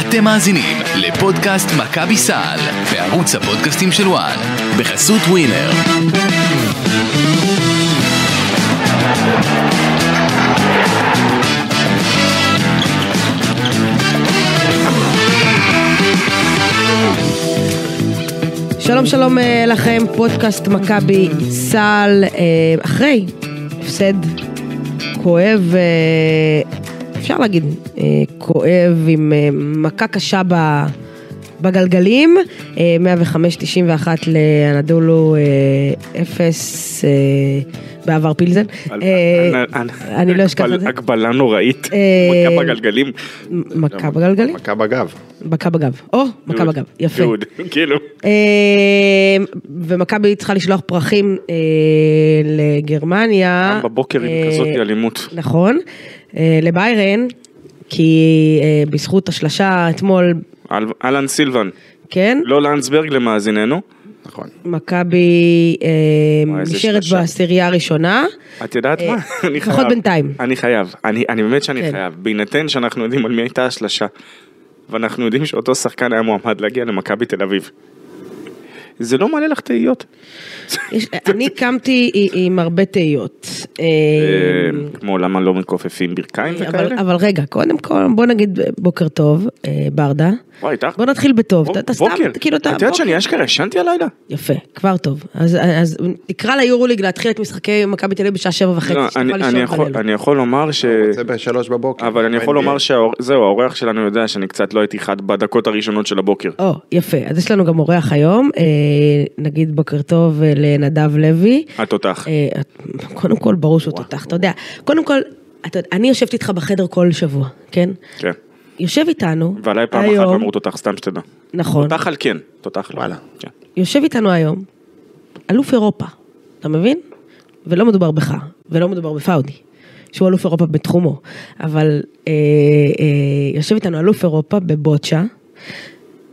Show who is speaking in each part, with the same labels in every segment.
Speaker 1: אתם מאזינים לפודקאסט מכבי סל בערוץ הפודקאסטים של וואן בחסות ווינר.
Speaker 2: שלום שלום אה, לכם, פודקאסט מכבי סל, אה, אחרי הפסד כואב, אה, אפשר להגיד, אה, כואב עם אה, מכה קשה ב- בגלגלים, אה, 105-91 לאנדולו אה, 0 אה, בעבר פילזן.
Speaker 3: על-
Speaker 2: אה,
Speaker 3: על- על-
Speaker 2: אני לא אשכח את זה.
Speaker 3: הגבלה נוראית,
Speaker 2: אה,
Speaker 3: מכה בגלגלים.
Speaker 2: מכה בגלגלים?
Speaker 4: כן, מכה בגב.
Speaker 2: מכה בגב. או, מכה בגב, יפה.
Speaker 3: דוד, כאילו,
Speaker 2: אה, ומכבי צריכה לשלוח פרחים אה, לגרמניה.
Speaker 3: גם בבוקר עם
Speaker 2: אה,
Speaker 3: כזאת אלימות.
Speaker 2: נכון. אה, לביירן, כי אה, בזכות השלשה אתמול,
Speaker 3: אל- אהלן סילבן,
Speaker 2: כן,
Speaker 3: לא לנדסברג למאזיננו.
Speaker 4: נכון.
Speaker 2: מכבי אה,
Speaker 3: וואי, איזה
Speaker 2: נשארת
Speaker 3: שלשה.
Speaker 2: בעשירייה הראשונה.
Speaker 3: את יודעת
Speaker 2: אה,
Speaker 3: מה? אני
Speaker 2: לפחות
Speaker 3: חייב.
Speaker 2: בינתיים.
Speaker 3: אני חייב, אני אני באמת שאני
Speaker 2: כן.
Speaker 3: חייב. בהינתן שאנחנו יודעים על מי הייתה השלשה, ואנחנו יודעים שאותו שחקן היה מועמד להגיע למכבי תל אביב. זה לא מעלה לך תהיות.
Speaker 2: יש- אני קמתי עם- עם הרבה תהיות. אה,
Speaker 3: אה, כמו למה לא מכופפים ברכיים
Speaker 2: אבל,
Speaker 3: וכאלה?
Speaker 2: אבל רגע, קודם כל בוא נגיד בוקר טוב, אה, ברדה.
Speaker 3: וואי, איתך?
Speaker 2: בוא נתחיל בטוב.
Speaker 3: בוא-
Speaker 2: אתה- אתה סתם,
Speaker 3: בוקר.
Speaker 2: כאילו אתה...
Speaker 3: את יודעת
Speaker 2: בוקר.
Speaker 3: שאני אשכרה ישנתי הלילה?
Speaker 2: יפה, כבר טוב. אז, אז תקרא ליורוליג להתחיל את משחקי מכבי תל אביב בשעה שבע וחצי,
Speaker 3: לא, אני-
Speaker 2: שתוכל
Speaker 3: אני
Speaker 2: לישון
Speaker 3: יכול-
Speaker 2: בלילה.
Speaker 3: אני יכול לומר ש...
Speaker 4: לא, זה בשלוש בבוקר.
Speaker 3: אבל אני יכול
Speaker 4: בין-
Speaker 3: לומר שזהו, האורח שלנו יודע שאני קצת לא הייתי חד בדקות הראשונות של הבוקר.
Speaker 2: או, יפה. אז יש לנו גם אורח היום, אה, נגיד בוקר טוב אה, לנדב לוי.
Speaker 3: התותח.
Speaker 2: אה, את- קודם כל, ברור שהוא תותח, אתה יודע. קודם כל, אתה, אני יושבת איתך בחדר כל שבוע, כן?
Speaker 3: כן.
Speaker 2: יושב איתנו
Speaker 3: ועליי פעם אחת לא
Speaker 2: היום,
Speaker 3: אמרו תותח, סתם שתדע.
Speaker 2: נכון,
Speaker 3: תותח על כן, תותח לא.
Speaker 4: וואלה.
Speaker 3: כן.
Speaker 2: יושב איתנו היום אלוף אירופה, אתה מבין? ולא מדובר בך, ולא מדובר בפאודי, שהוא אלוף אירופה בתחומו, אבל אה, אה, יושב איתנו אלוף אירופה בבוטשה,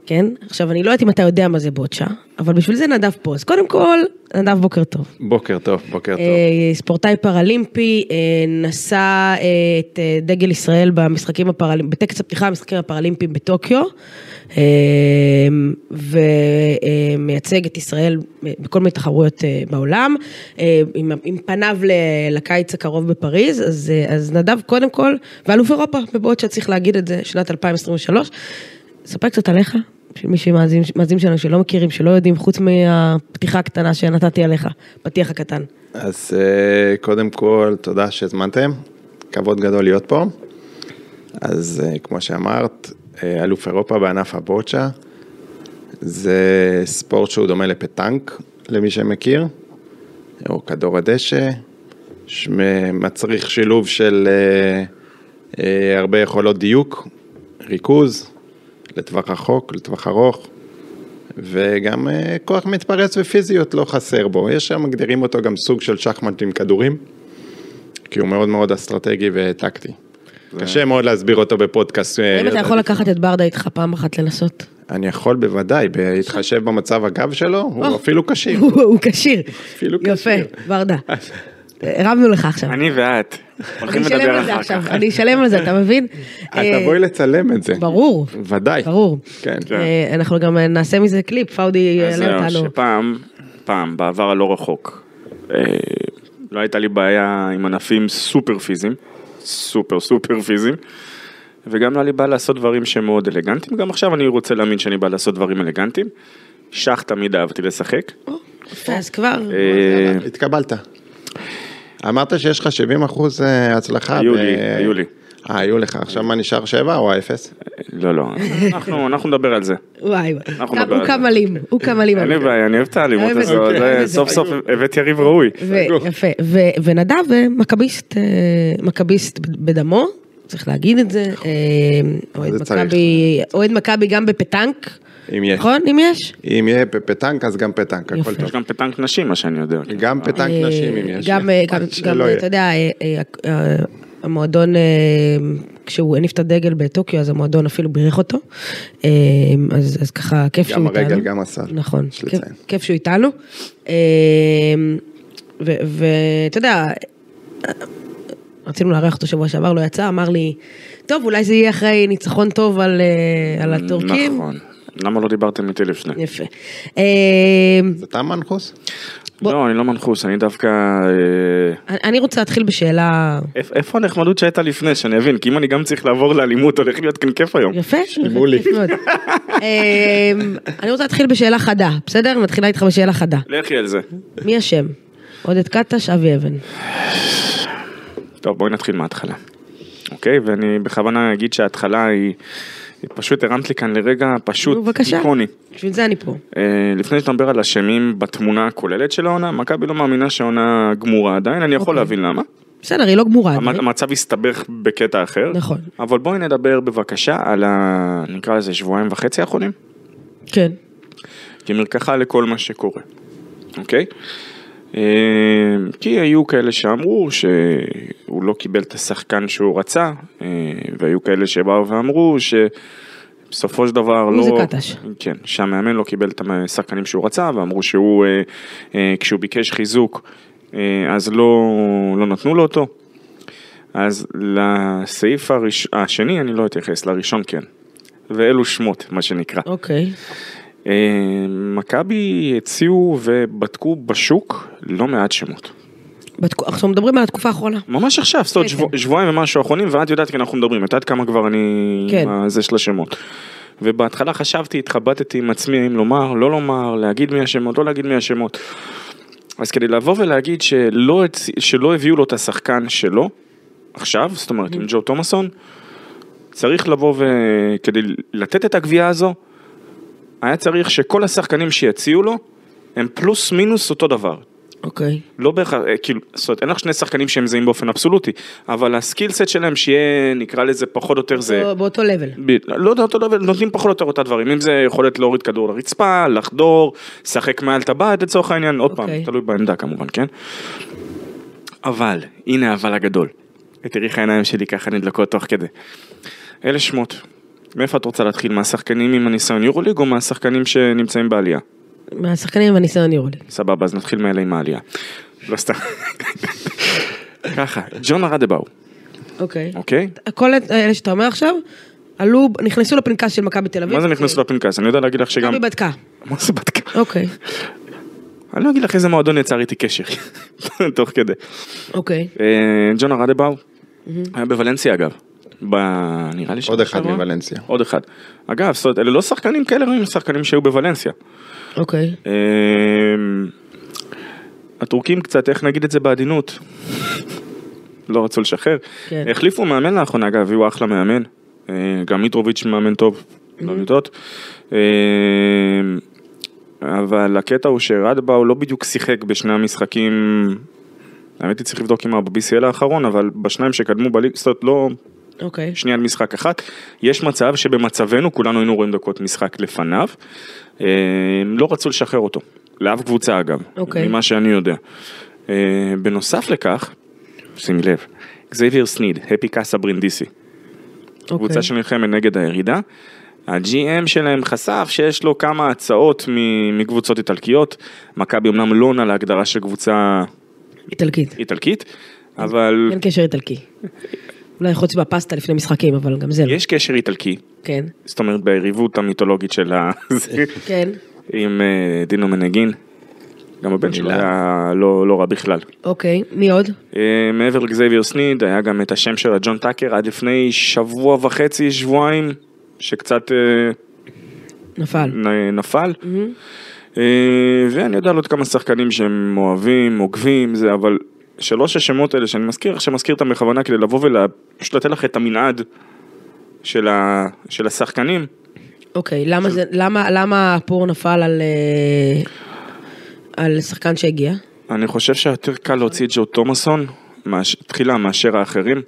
Speaker 2: כן? עכשיו, אני לא יודעת אם אתה יודע מה זה בוטשה, אבל בשביל זה נדב פה, אז קודם כל, נדב בוקר טוב.
Speaker 4: בוקר טוב, בוקר טוב.
Speaker 2: אה, ספורטאי פראלימפי, אה, נשא אה, את אה, דגל ישראל במשחקים הפראלימפיים, בטקס הפתיחה במשחקים הפראלימפיים בטוקיו, אה, ומייצג אה, את ישראל אה, בכל מיני תחרויות אה, בעולם, אה, עם, עם פניו ל- לקיץ הקרוב בפריז, אז, אה, אז נדב קודם כל, ואלוף אירופה, בבעוד שצריך להגיד את זה, שנת 2023. ספר קצת עליך. של מי שמאזינים מאזינים שלנו שלא מכירים, שלא יודעים, חוץ מהפתיחה הקטנה שנתתי עליך, פתיח הקטן.
Speaker 4: אז אה, קודם כל, תודה שהזמנתם. כבוד גדול להיות פה. אז אה, כמו שאמרת, אה, אלוף אירופה בענף הבוצ'ה. זה ספורט שהוא דומה לפטנק, למי שמכיר, או כדור הדשא, שמצריך שילוב של אה, אה, הרבה יכולות דיוק, ריכוז, לטווח רחוק, לטווח ארוך, וגם אה, כוח מתפרץ ופיזיות לא חסר בו. יש שם, מגדירים אותו גם סוג של שחמט עם כדורים, כי הוא מאוד מאוד אסטרטגי וטקטי. קשה מאוד להסביר אותו בפודקאסט. אה,
Speaker 2: האם אתה יכול לקחת את ברדה איתך פעם אחת לנסות?
Speaker 4: אני יכול בוודאי, בהתחשב במצב הגב שלו,
Speaker 2: אה.
Speaker 4: הוא אפילו קשיר.
Speaker 2: הוא הוא כשיר.
Speaker 4: אפילו כשיר.
Speaker 2: יפה, ברדה. הרמנו לך עכשיו.
Speaker 3: אני ואת. הולכים
Speaker 2: אני אשלם
Speaker 3: לדבר
Speaker 2: על זה
Speaker 3: אחר
Speaker 2: עכשיו,
Speaker 3: כך.
Speaker 2: אני אשלם על זה, אתה מבין?
Speaker 4: אז
Speaker 2: אה,
Speaker 4: תבואי לצלם את זה.
Speaker 2: ברור,
Speaker 4: ודאי.
Speaker 2: ברור.
Speaker 4: כן.
Speaker 2: אה, אנחנו גם נעשה מזה קליפ, פאודי
Speaker 3: אז
Speaker 2: יעלה
Speaker 3: אה, זהו,
Speaker 2: אותנו.
Speaker 3: שפעם, פעם, בעבר הלא רחוק, אה, לא הייתה לי בעיה עם ענפים סופר פיזיים, סופר סופר פיזיים, וגם לא היה לי בעיה לעשות דברים שהם מאוד אלגנטיים, גם עכשיו אני רוצה להאמין שאני בא לעשות דברים אלגנטיים. שח תמיד אהבתי לשחק.
Speaker 2: יפה, אז כבר,
Speaker 3: אה,
Speaker 4: התקבלת. אמרת שיש לך 70 אחוז אה, הצלחה.
Speaker 3: היו
Speaker 4: ב-
Speaker 3: לי, היו לי.
Speaker 4: אה, היו לך. עכשיו מה נשאר 7 או האפס?
Speaker 3: לא, לא, אנחנו, אנחנו נדבר על זה.
Speaker 2: וואי,
Speaker 3: אנחנו
Speaker 2: כמה-
Speaker 3: נדבר
Speaker 2: הוא
Speaker 3: על זה.
Speaker 2: כמה לים, הוא כמה לים.
Speaker 3: אין לי בעיה, אני אוהב את האלימות
Speaker 2: אוהב את זה,
Speaker 3: הזאת,
Speaker 2: אוהב
Speaker 3: זה-
Speaker 2: את זה.
Speaker 3: סוף סוף הבאת יריב ראוי.
Speaker 2: אה, אוקיי. ו- יפה, ו- ונדב אה, מכביסט, אה, מכביסט בדמו, צריך להגיד את זה, אה, אוהד
Speaker 4: זה צריך.
Speaker 2: מכבי- אוהד מכבי גם בפטנק,
Speaker 4: אם יש.
Speaker 2: נכון? אם יש?
Speaker 4: אם יהיה פ- פטנק אז גם פטנק, הכל
Speaker 2: יפה.
Speaker 4: טוב.
Speaker 3: יש גם פטנק נשים, מה שאני יודע.
Speaker 4: גם פטנק
Speaker 2: אה,
Speaker 4: נשים אם יש.
Speaker 2: גם, אה, גם,
Speaker 4: שלא
Speaker 2: גם,
Speaker 4: יהיה.
Speaker 2: אה, אתה יודע, אה, אה, אה, המועדון, אה, כשהוא הניף את הדגל בטוקיו, אז המועדון אפילו בירך אותו. אה, אז אז ככה, כיף
Speaker 4: גם
Speaker 2: שהוא איתנו.
Speaker 4: הרגל, גם הסל.
Speaker 2: נכון,
Speaker 4: יש
Speaker 2: כיף-
Speaker 4: לציין.
Speaker 2: כיף שהוא איתנו. אה, ו- ואתה יודע, רצינו לארח אותו שבוע שעבר, לא יצא, אמר לי, טוב, אולי זה יהיה אחרי ניצחון טוב על, אה, על הטורקים.
Speaker 3: נכון. למה לא דיברתם איתי לפני?
Speaker 2: יפה. אה,
Speaker 4: זה אתה מנחוס?
Speaker 2: בוא-
Speaker 3: לא, אני לא מנחוס, אני דווקא... אה,
Speaker 2: אני רוצה להתחיל בשאלה...
Speaker 3: איפ- איפה הנחמדות שהייתה לפני, שאני אבין, כי אם אני גם צריך לעבור לאלימות, הולך להיות כאן כיף היום.
Speaker 2: יפה,
Speaker 4: שלימולי.
Speaker 2: יפה מאוד. אה, אני רוצה להתחיל בשאלה חדה, בסדר? אני מתחילה איתך בשאלה חדה.
Speaker 3: לכי על זה.
Speaker 2: מי אשם? עודד קטש, אבי אבן.
Speaker 3: טוב, בואי נתחיל מההתחלה. אוקיי, ואני בכוונה אגיד שההתחלה היא... היא פשוט הרמת לי כאן לרגע
Speaker 2: נו,
Speaker 3: פשוט
Speaker 2: בבקשה.
Speaker 3: איקוני.
Speaker 2: בשביל זה אני פה.
Speaker 3: אה, לפני שנדבר על אשמים בתמונה הכוללת של העונה, מכבי לא מאמינה שהעונה גמורה עדיין, אני
Speaker 2: אוקיי.
Speaker 3: יכול להבין למה.
Speaker 2: בסדר, היא לא גמורה.
Speaker 3: המ-
Speaker 2: אני-
Speaker 3: המצב הסתבך בקטע אחר.
Speaker 2: נכון.
Speaker 3: אבל בואי נדבר בבקשה על ה... נקרא לזה שבועיים וחצי האחרונים,
Speaker 2: כן.
Speaker 3: כמרקחה לכל מה שקורה, אוקיי? אה, כי היו כאלה שאמרו שהוא לא קיבל את השחקן שהוא רצה, אה, והיו כאלה שבאו ואמרו שבסופו של דבר
Speaker 2: הוא
Speaker 3: לא...
Speaker 2: זה קטש.
Speaker 3: כן, שהמאמן לא קיבל את השחקנים שהוא רצה, ואמרו שהוא, אה, אה, כשהוא ביקש חיזוק, אה, אז לא, לא נתנו לו אותו. אז לסעיף הראש... השני אני לא אתייחס, לראשון כן. ואלו שמות, מה שנקרא.
Speaker 2: אוקיי.
Speaker 3: אה, מכבי הציעו ובדקו בשוק לא מעט שמות.
Speaker 2: בתק- עכשיו מדברים על התקופה האחרונה.
Speaker 3: ממש עכשיו, זאת אומרת
Speaker 2: כן,
Speaker 3: שבוע, שבועיים ומשהו אחרונים, ואת יודעת כי אנחנו מדברים, את יודעת כמה כבר אני...
Speaker 2: כן.
Speaker 3: עם זה של השמות. ובהתחלה חשבתי, התחבטתי עם עצמי האם לומר, לא לומר, להגיד מי השמות, לא להגיד מי השמות. אז כדי לבוא ולהגיד שלא, הצ- שלא הביאו לו את השחקן שלו, עכשיו, זאת אומרת
Speaker 2: Mm-hmm.
Speaker 3: עם ג'ו תומאסון, צריך לבוא וכדי לתת את הגבייה הזו, היה צריך שכל השחקנים שיציעו לו, הם פלוס מינוס אותו דבר.
Speaker 2: אוקיי.
Speaker 3: לא בהכרח, אה, כאילו, זאת אומרת, אין לך שני שחקנים שהם זהים באופן אבסולוטי, אבל הסקיל סט שלהם שיהיה, נקרא לזה פחות או יותר זה,
Speaker 2: בא- באותו לבל.
Speaker 3: ב- לא יודע, אותו דבר, נותנים פחות או יותר אותה דברים, אם זה יכולת להוריד כדור לרצפה, לחדור, לשחק מעל טבעת לצורך העניין, עוד פעם,
Speaker 2: אוקיי.
Speaker 3: תלוי בעמדה כמובן, כן? אבל, הנה אבל הגדול, תראי איך העיניים שלי ככה נדלקות תוך כדי. אלה שמות, מאיפה את רוצה להתחיל, מהשחקנים עם הניסיון יורוליג או מהשחקנים שנמצאים בעלייה?
Speaker 2: מהשחקנים עם הניסיון יורו לי.
Speaker 3: סבבה, אז נתחיל מאלה עם העלייה. לא סתם. ככה, ג'ון ארדבאו,
Speaker 2: אוקיי.
Speaker 3: אוקיי?
Speaker 2: כל אלה שאתה אומר עכשיו, עלו, נכנסו לפנקס של מכבי תל אביב.
Speaker 3: מה זה נכנס לפנקס? אני יודע להגיד לך שגם...
Speaker 2: מכבי בדקה.
Speaker 3: מה זה בדקה?
Speaker 2: אוקיי.
Speaker 3: אני לא אגיד לך איזה מועדון יצר איתי קשר, תוך כדי.
Speaker 2: אוקיי.
Speaker 3: אה, ג'ון ארדבאו, היה בוולנסיה אגב. ב... נראה לי
Speaker 4: עוד
Speaker 3: שנה
Speaker 4: אחד
Speaker 3: שעברה.
Speaker 4: מוולנסיה.
Speaker 3: עוד אחד. אגב, זאת אומרת, אלה לא שחקנים כאלה, הם שחקנים שהיו בוולנסיה.
Speaker 2: אוקיי.
Speaker 3: אה, אמ, הטורקים קצת, איך נגיד את זה בעדינות? לא רצו לשחרר.
Speaker 2: כן.
Speaker 3: החליפו מאמן לאחרונה, אגב, הביאו אחלה מאמן. אה, גם מיטרוביץ' מאמן טוב, לא יודעות. אה, אבל הקטע הוא שרדבאו לא בדיוק שיחק בשני המשחקים, האמת היא צריך לבדוק אם הוא ב-BCL האחרון, אבל בשניים שקדמו בליג, זאת אומרת לא
Speaker 2: אוקיי.
Speaker 3: שנייה על משחק אחת. יש מצב שבמצבנו כולנו היינו רואים דקות משחק לפניו. אה, לא רצו לשחרר אותו, לאף קבוצה אגב,
Speaker 2: אוקיי.
Speaker 3: ממה שאני יודע. אה, בנוסף לכך, שימי לב, גזייביר סניד, הפי קאסה ברינדיסי,
Speaker 2: אוקיי.
Speaker 3: קבוצה שנלחמת נגד הירידה. ה-GM שלהם חשף שיש לו כמה הצעות מ- מקבוצות איטלקיות. מכבי אמנם לא עונה להגדרה של קבוצה
Speaker 2: איטלקית.
Speaker 3: איטלקית, אבל
Speaker 2: אין קשר איטלקי. אולי חוץ מהפסטה לפני משחקים, אבל גם זה לא.
Speaker 3: יש קשר איטלקי,
Speaker 2: כן.
Speaker 3: זאת אומרת ביריבות המיתולוגית של ה... זה.
Speaker 2: כן.
Speaker 3: עם אה, דינו מנגין. גם הבן שלו היה לא, לא רע בכלל.
Speaker 2: אוקיי. מי עוד?
Speaker 3: אה, מעבר לגזייביר סניד, היה גם את השם של הג'ון טאקר עד לפני שבוע וחצי, שבועיים, שקצת אה,
Speaker 2: נפל.
Speaker 3: נ- נפל. אה, ואני יודע על עוד כמה שחקנים שהם אוהבים, עוקבים, זה, אבל שלוש השמות האלה שאני מזכיר, עכשיו מזכיר אותם בכוונה כדי לבוא ופשוט לתת לך את המנעד של, ה, של השחקנים.
Speaker 2: אוקיי. למה זה, למה, למה הפור נפל על... אה, על שחקן שהגיע?
Speaker 3: אני חושב שיותר קל להוציא את ג'ו תומאסון מאש... תחילה מאשר האחרים.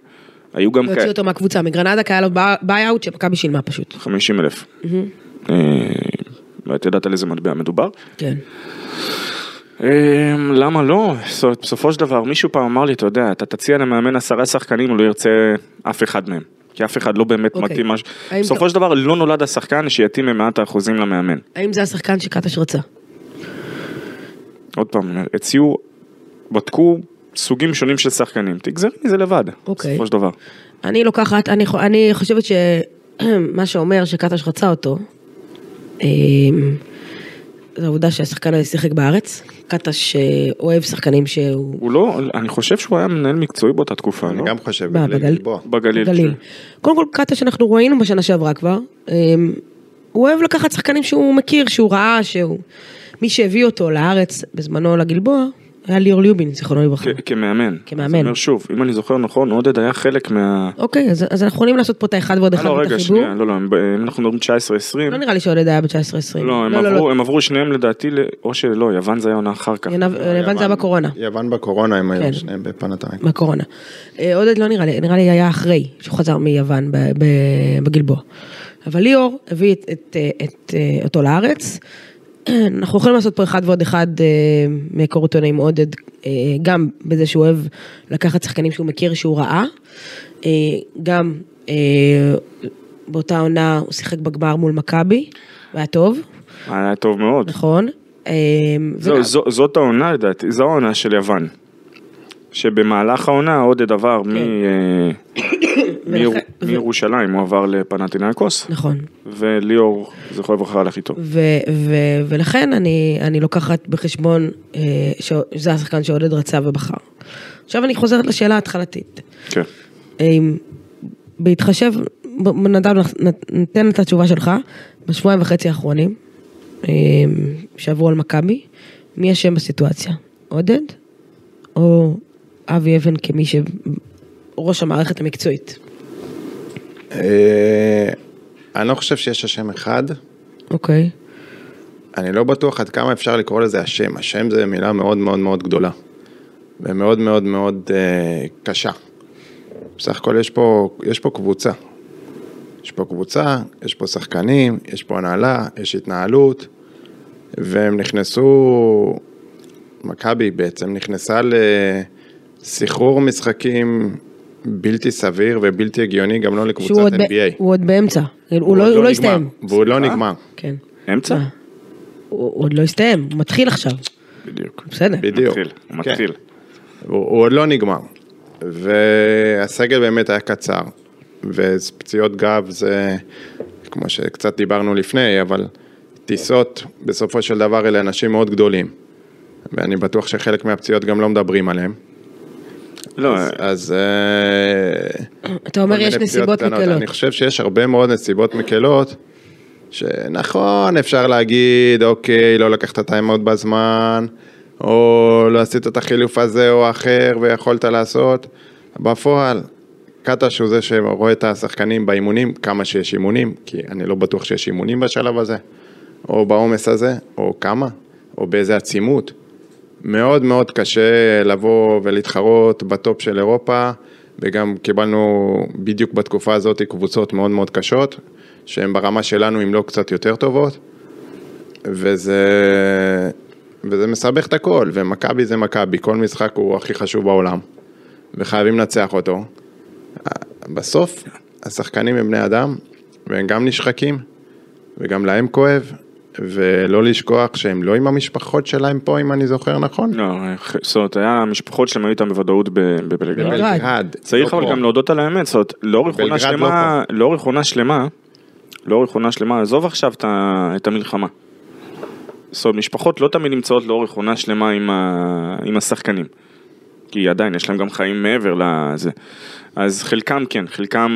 Speaker 3: היו גם
Speaker 2: להוציא
Speaker 3: כאלה,
Speaker 2: אותו מהקבוצה, מגרנדה, כי היה לו ביי אאוט שמכבי שילמה פשוט.
Speaker 3: 50 אלף. אה, ואת יודעת על איזה מטבע מדובר.
Speaker 2: כן.
Speaker 3: אה, למה לא? זאת אומרת, בסופו של דבר מישהו פעם אמר לי, אתה יודע, אתה תציע למאמן עשרה שחקנים, הוא לא ירצה אף אחד מהם. כי אף אחד לא באמת
Speaker 2: אוקיי.
Speaker 3: מתאים. מש-
Speaker 2: האם
Speaker 3: בסופו
Speaker 2: אתה-
Speaker 3: של דבר לא נולד השחקן שיתאים במאת האחוזים למאמן.
Speaker 2: האם זה השחקן שקטש רצה?
Speaker 3: עוד פעם, הציעו, בדקו סוגים שונים של שחקנים, תגזרי מזה לבד,
Speaker 2: אוקיי.
Speaker 3: בסופו של דבר.
Speaker 2: אני לוקחת, אני, חו- אני חושבת שמה שאומר שקטש רצה אותו, אה, זה העובדה שהשחקן הזה שיחק בארץ. קטש אה, אוהב שחקנים שהוא...
Speaker 3: הוא לא, אני חושב שהוא היה מנהל מקצועי באותה תקופה,
Speaker 4: אני
Speaker 3: לא?
Speaker 4: גם חושב,
Speaker 2: מה,
Speaker 4: בגלל
Speaker 2: בגל-
Speaker 4: גלבוע.
Speaker 3: בגליל. כן.
Speaker 2: גליל. קודם כל קטש שאנחנו ראינו בשנה שעברה כבר, אה, הוא אוהב לקחת שחקנים שהוא מכיר, שהוא ראה, שהוא... מי שהביא אותו לארץ בזמנו לגלבוע, היה ליאור ליובין, זיכרונו לברכה.
Speaker 3: כ- כמאמן.
Speaker 2: כמאמן.
Speaker 3: אז אני אומר שוב, אם אני זוכר נכון, עודד היה חלק מה...
Speaker 2: אוקיי, אז, אז אנחנו יכולים לעשות פה את האחד ועוד
Speaker 3: אה,
Speaker 2: אחד
Speaker 3: לא,
Speaker 2: ואת
Speaker 3: רגע,
Speaker 2: החיבור.
Speaker 3: שנייה, לא, לא, הם- אם אנחנו מדברים 19-20,
Speaker 2: לא נראה לי שעודד היה ב-19-20.
Speaker 3: לא, הם עברו- הם עברו שניהם לדעתי, ל- או שלא, יוון זה היה עונה אחר כך.
Speaker 2: יוון זה היה
Speaker 4: יוון-
Speaker 2: בקורונה.
Speaker 4: יוון בקורונה הם
Speaker 2: כן.
Speaker 4: היו שניהם בפנתיים.
Speaker 2: בקורונה. אה, עודד לא נראה לי, נראה לי היה אחרי שהוא חזר מיוון ב- ב- בגלבוע. אבל ליאור הביא את, את, אה, את, אה, אותו לארץ. אנחנו יכולים לעשות פה אחד ועוד אחד אה, מקור עיתונאי עם עודד, אה, גם בזה שהוא אוהב לקחת שחקנים שהוא מכיר שהוא ראה, אה, גם אה, באותה עונה הוא שיחק בגמר מול מכבי, והיה טוב,
Speaker 3: היה טוב מאוד.
Speaker 2: נכון. אה,
Speaker 3: זהו,
Speaker 2: וגם-
Speaker 3: זו- זאת העונה לדעתי, זו העונה של יוון. שבמהלך העונה עודד עבר מ- אה, מיר-
Speaker 2: ולכן- ו-
Speaker 3: מירושלים, הוא עבר לפנטינאיקוס,
Speaker 2: נכון.
Speaker 3: וליאור, זכרו לברכה, הלך איתו.
Speaker 2: ו- ו- ולכן אני, אני לוקחת בחשבון אה, שזה השחקן שעודד רצה ובחר. עכשיו אני חוזרת לשאלה ההתחלתית.
Speaker 3: כן.
Speaker 2: אם בהתחשב, ב- נדב, נ- ניתן את התשובה שלך, בשבועיים וחצי האחרונים, אה, שעברו על מכבי, מי אשם בסיטואציה? עודד? או אבי אבן כמי שראש המערכת המקצועית?
Speaker 4: אה, אני לא חושב שיש אשם אחד,
Speaker 2: אוקיי.
Speaker 4: אני לא בטוח עד כמה אפשר לקרוא לזה השם, השם זה מילה מאוד מאוד מאוד גדולה ומאוד מאוד מאוד אה, קשה. בסך הכל יש פה, יש פה קבוצה. יש פה קבוצה, יש פה שחקנים, יש פה הנהלה, יש התנהלות, והם נכנסו, מכבי בעצם נכנסה לסחרור משחקים בלתי סביר ובלתי הגיוני, גם לא לקבוצת
Speaker 2: שהוא עוד, ב-
Speaker 4: NBA.
Speaker 2: הוא עוד באמצע, הוא,
Speaker 4: והוא
Speaker 2: לא,
Speaker 4: עוד
Speaker 2: הוא לא
Speaker 4: נגמר,
Speaker 2: הסתיים.
Speaker 4: והוא לא נגמר.
Speaker 2: כן.
Speaker 3: אמצע?
Speaker 2: מה? הוא הוא עוד לא הסתיים, הוא מתחיל עכשיו,
Speaker 3: בדיוק.
Speaker 2: בסדר.
Speaker 4: בדיוק.
Speaker 3: מתחיל, הוא
Speaker 4: כן.
Speaker 3: מתחיל.
Speaker 4: הוא, הוא עוד לא נגמר. והסגל באמת היה קצר. ופציעות גב זה, כמו שקצת דיברנו לפני, אבל טיסות בסופו של דבר אלה אנשים מאוד גדולים. ואני בטוח שחלק מהפציעות גם לא מדברים עליהם.
Speaker 3: לא,
Speaker 4: אז, אז אה,
Speaker 2: אתה אומר
Speaker 4: כל מיני
Speaker 2: יש
Speaker 4: פציעות
Speaker 2: נסיבות
Speaker 4: קטנות.
Speaker 2: מקלות.
Speaker 4: אני חושב שיש הרבה מאוד נסיבות מקלות, שנכון, אפשר להגיד, אוקיי, לא לקחת טיימאוט בזמן, או לא עשית את החילוף הזה או האחר ויכולת לעשות. בפועל, קטש הוא זה שרואה את השחקנים באימונים, כמה שיש אימונים, כי אני לא בטוח שיש אימונים בשלב הזה, או בעומס הזה, או כמה, או באיזה עצימות. מאוד מאוד קשה לבוא ולהתחרות בטופ של אירופה, וגם קיבלנו בדיוק בתקופה הזאת קבוצות מאוד מאוד קשות, שהן ברמה שלנו, אם לא קצת יותר טובות, וזה, וזה מסבך את הכל, ומכבי זה מכבי, כל משחק הוא הכי חשוב בעולם, וחייבים לנצח אותו. בסוף, השחקנים הם בני אדם, והם גם נשחקים, וגם להם כואב, ולא לשכוח שהם לא עם המשפחות שלהם פה, אם אני זוכר נכון.
Speaker 3: לא, זאת אומרת, היה, המשפחות שלהם היו איתם בוודאות ב- בבלגרד.
Speaker 4: בבלגרד.
Speaker 3: צריך
Speaker 4: לא
Speaker 3: אבל
Speaker 4: פה.
Speaker 3: גם להודות על האמת, זאת אומרת, לאורך עונה
Speaker 4: בלגרד לא
Speaker 3: שלמה, לאורך עונה שלמה, לאורך עונה שלמה, עזוב עכשיו את ה- את המלחמה. זאת אומרת, משפחות לא תמיד נמצאות לאורך עונה שלמה עם ה- עם השחקנים. כי עדיין יש להם גם חיים מעבר לזה. אז חלקם כן, חלקם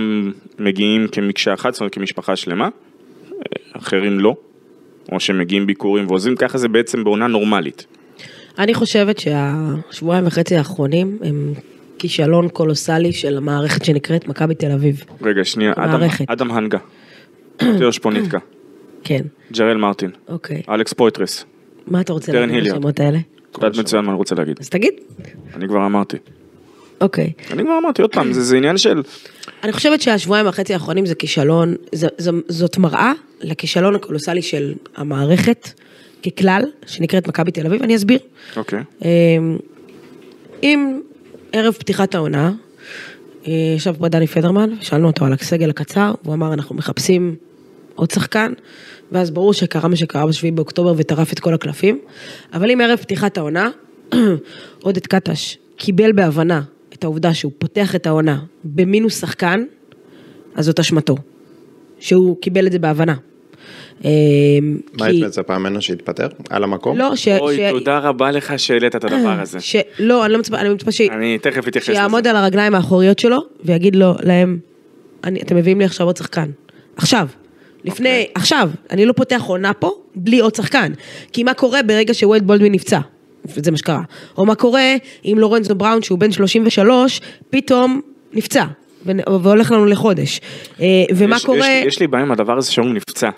Speaker 3: מגיעים כמקשה אחת, זאת אומרת כמשפחה שלמה, אחרים לא, או שמגיעים ביקורים ועוזבים, ככה זה בעצם בעונה נורמלית.
Speaker 2: אני חושבת שהשבועיים וחצי האחרונים הם כישלון קולוסלי של המערכת שנקראת מכבי תל אביב.
Speaker 3: רגע, שנייה, אדם,
Speaker 2: המערכת.
Speaker 3: אדם הנגה, תיאור שפוניטקה,
Speaker 2: כן,
Speaker 3: ג'רל מרטין,
Speaker 2: אוקיי.
Speaker 3: אלכס פויטרס,
Speaker 2: מה אתה רוצה
Speaker 3: קרן
Speaker 2: להגיד
Speaker 3: היליארד.
Speaker 2: בשמות האלה?
Speaker 3: את יודעת מצוין מה אני רוצה להגיד,
Speaker 2: אז תגיד.
Speaker 3: אני כבר אמרתי,
Speaker 2: אוקיי.
Speaker 3: אני כבר אמרתי עוד פעם, זה- זה עניין של,
Speaker 2: אני חושבת שהשבועיים וחצי האחרונים זה כישלון, ז, ז, זאת מראה לכישלון הקולוסלי של המערכת ככלל, שנקראת מכבי תל אביב, אני אסביר.
Speaker 3: אוקיי,
Speaker 2: אמ, אם ערב פתיחת העונה, אה, ישב פה דני פדרמן, שאלנו אותו על הסגל הקצר, והוא אמר אנחנו מחפשים עוד שחקן, ואז ברור שקרה מה שקרה ב-7 באוקטובר וטרף את כל הקלפים, אבל אם ערב פתיחת העונה, עודד קטש קיבל בהבנה את העובדה שהוא פותח את העונה במינוס שחקן, אז זאת אשמתו. שהוא קיבל את זה בהבנה. אה,
Speaker 4: מה
Speaker 2: כי-
Speaker 4: היית מצפה ממנו שיתפטר? על המקום?
Speaker 2: לא, ש...
Speaker 3: אוי,
Speaker 2: ש-
Speaker 3: תודה רבה לך שהעלית את הדבר הזה.
Speaker 2: ש... לא, אני לא מצפה, אני מצפה ש...
Speaker 3: אני תכף אתייחס לזה.
Speaker 2: שיעמוד על הרגליים האחוריות שלו ויגיד לו, להם, אני, אתם מביאים לי עכשיו עוד שחקן. עכשיו. לפני,
Speaker 3: אוקיי.
Speaker 2: okay. עכשיו. אני לא פותח עונה פה בלי עוד שחקן. כי מה קורה ברגע שווייד בולדווין נפצע? זה מה שקרה. או מה קורה אם לורנזו בראון, שהוא בן 33, פתאום נפצע. ו- והולך לנו לחודש. אה, ומה
Speaker 3: יש-
Speaker 2: קורה...
Speaker 3: יש- יש לי בעיה עם הדבר הזה שאומרים נפצע.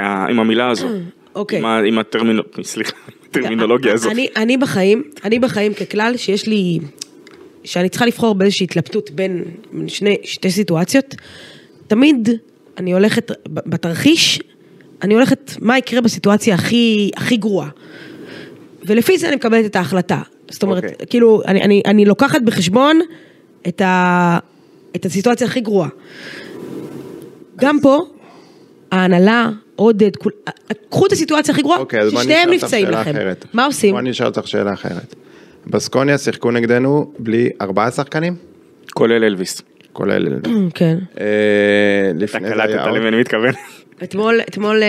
Speaker 3: אה, עם המילה הזו.
Speaker 2: אוקיי.
Speaker 3: עם ה- עם הטרמינו... סליחה, הטרמינולוגיה הזו.
Speaker 2: אני, אני בחיים, אני בחיים ככלל, שיש לי, שאני צריכה לבחור באיזושהי התלבטות בין שני, שתי סיטואציות, תמיד אני הולכת, ב- בתרחיש, אני הולכת, מה יקרה בסיטואציה הכי, הכי גרועה. ולפי זה אני מקבלת את ההחלטה. זאת אומרת,
Speaker 4: אוקיי.
Speaker 2: okay. כאילו, אני, אני, אני לוקחת בחשבון את, ה, את הסיטואציה הכי גרועה. גם פה, ההנהלה, עודד, כול, קחו את הסיטואציה הכי גרועה,
Speaker 4: אוקיי, אז בוא אני
Speaker 2: ששניהם
Speaker 4: אשאל אותך
Speaker 2: נפצעים
Speaker 4: שאלה
Speaker 2: לכם.
Speaker 4: אחרת.
Speaker 2: מה עושים?
Speaker 4: בוא אני אשאל אותך שאלה אחרת. בסקוניה שיחקו נגדנו בלי ארבעה שחקנים,
Speaker 3: כולל אלוויס.
Speaker 4: כולל...
Speaker 2: כן.
Speaker 4: אה,
Speaker 3: אתה
Speaker 4: לפני זה
Speaker 3: קלטת
Speaker 4: היה...
Speaker 3: למי
Speaker 4: עוד-
Speaker 3: אני מתכוון.
Speaker 2: אתמול, אתמול... אה,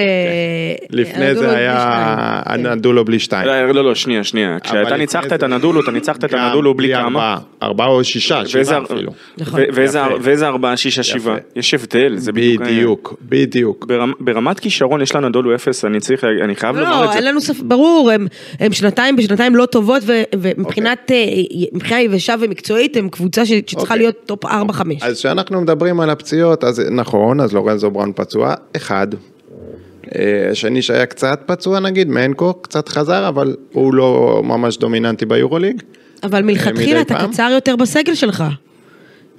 Speaker 4: כן. לפני
Speaker 2: הנדולו
Speaker 4: זה
Speaker 2: בלי
Speaker 4: היה
Speaker 2: שניים. כן.
Speaker 4: הנדולו בלי שתיים.
Speaker 3: לא, לא, לא, שנייה, שנייה. כשאתה
Speaker 4: לפני
Speaker 3: ניצחת
Speaker 4: זה-
Speaker 3: את הנדולו, אתה ניצחת את
Speaker 4: גם
Speaker 3: הנדולו בלי כמה.
Speaker 4: ארבעה, ארבעה או שישה,
Speaker 3: ואיזה
Speaker 4: שבעה
Speaker 3: אר-
Speaker 4: אפילו.
Speaker 2: נכון.
Speaker 3: ו- ואיזה
Speaker 4: יפה.
Speaker 3: אר- ואיזה ארבעה, שישה, שבעה. יש הבדל, זה בדיוק... העניין.
Speaker 4: בדיוק, בדיוק.
Speaker 3: ברמ- ברמת כישרון יש לנדולו אפס, אני צריך, לה- אני חייב לומר
Speaker 2: לא,
Speaker 3: את
Speaker 2: אין
Speaker 3: זה.
Speaker 2: לנו ספק, ברור, הם- הם שנתיים בשנתיים לא טובות, ו- ומבחינת אה, מבחינה יבשה ומקצועית, הם קבוצה ש- שצריכה
Speaker 4: אוקיי.
Speaker 2: להיות טופ 4-5.
Speaker 4: אז כשאנחנו מדברים על הפציעות, אז נכון, אז לורנזו בראון פצוע, אחד. אה, השני שהיה קצת פצוע נגיד, מנקו, קצת חזר, אבל הוא לא ממש דומיננטי ביורוליג.
Speaker 2: אבל מלכתחילה
Speaker 4: מדי
Speaker 2: אתה
Speaker 4: פעם?
Speaker 2: קצר יותר בסגל שלך.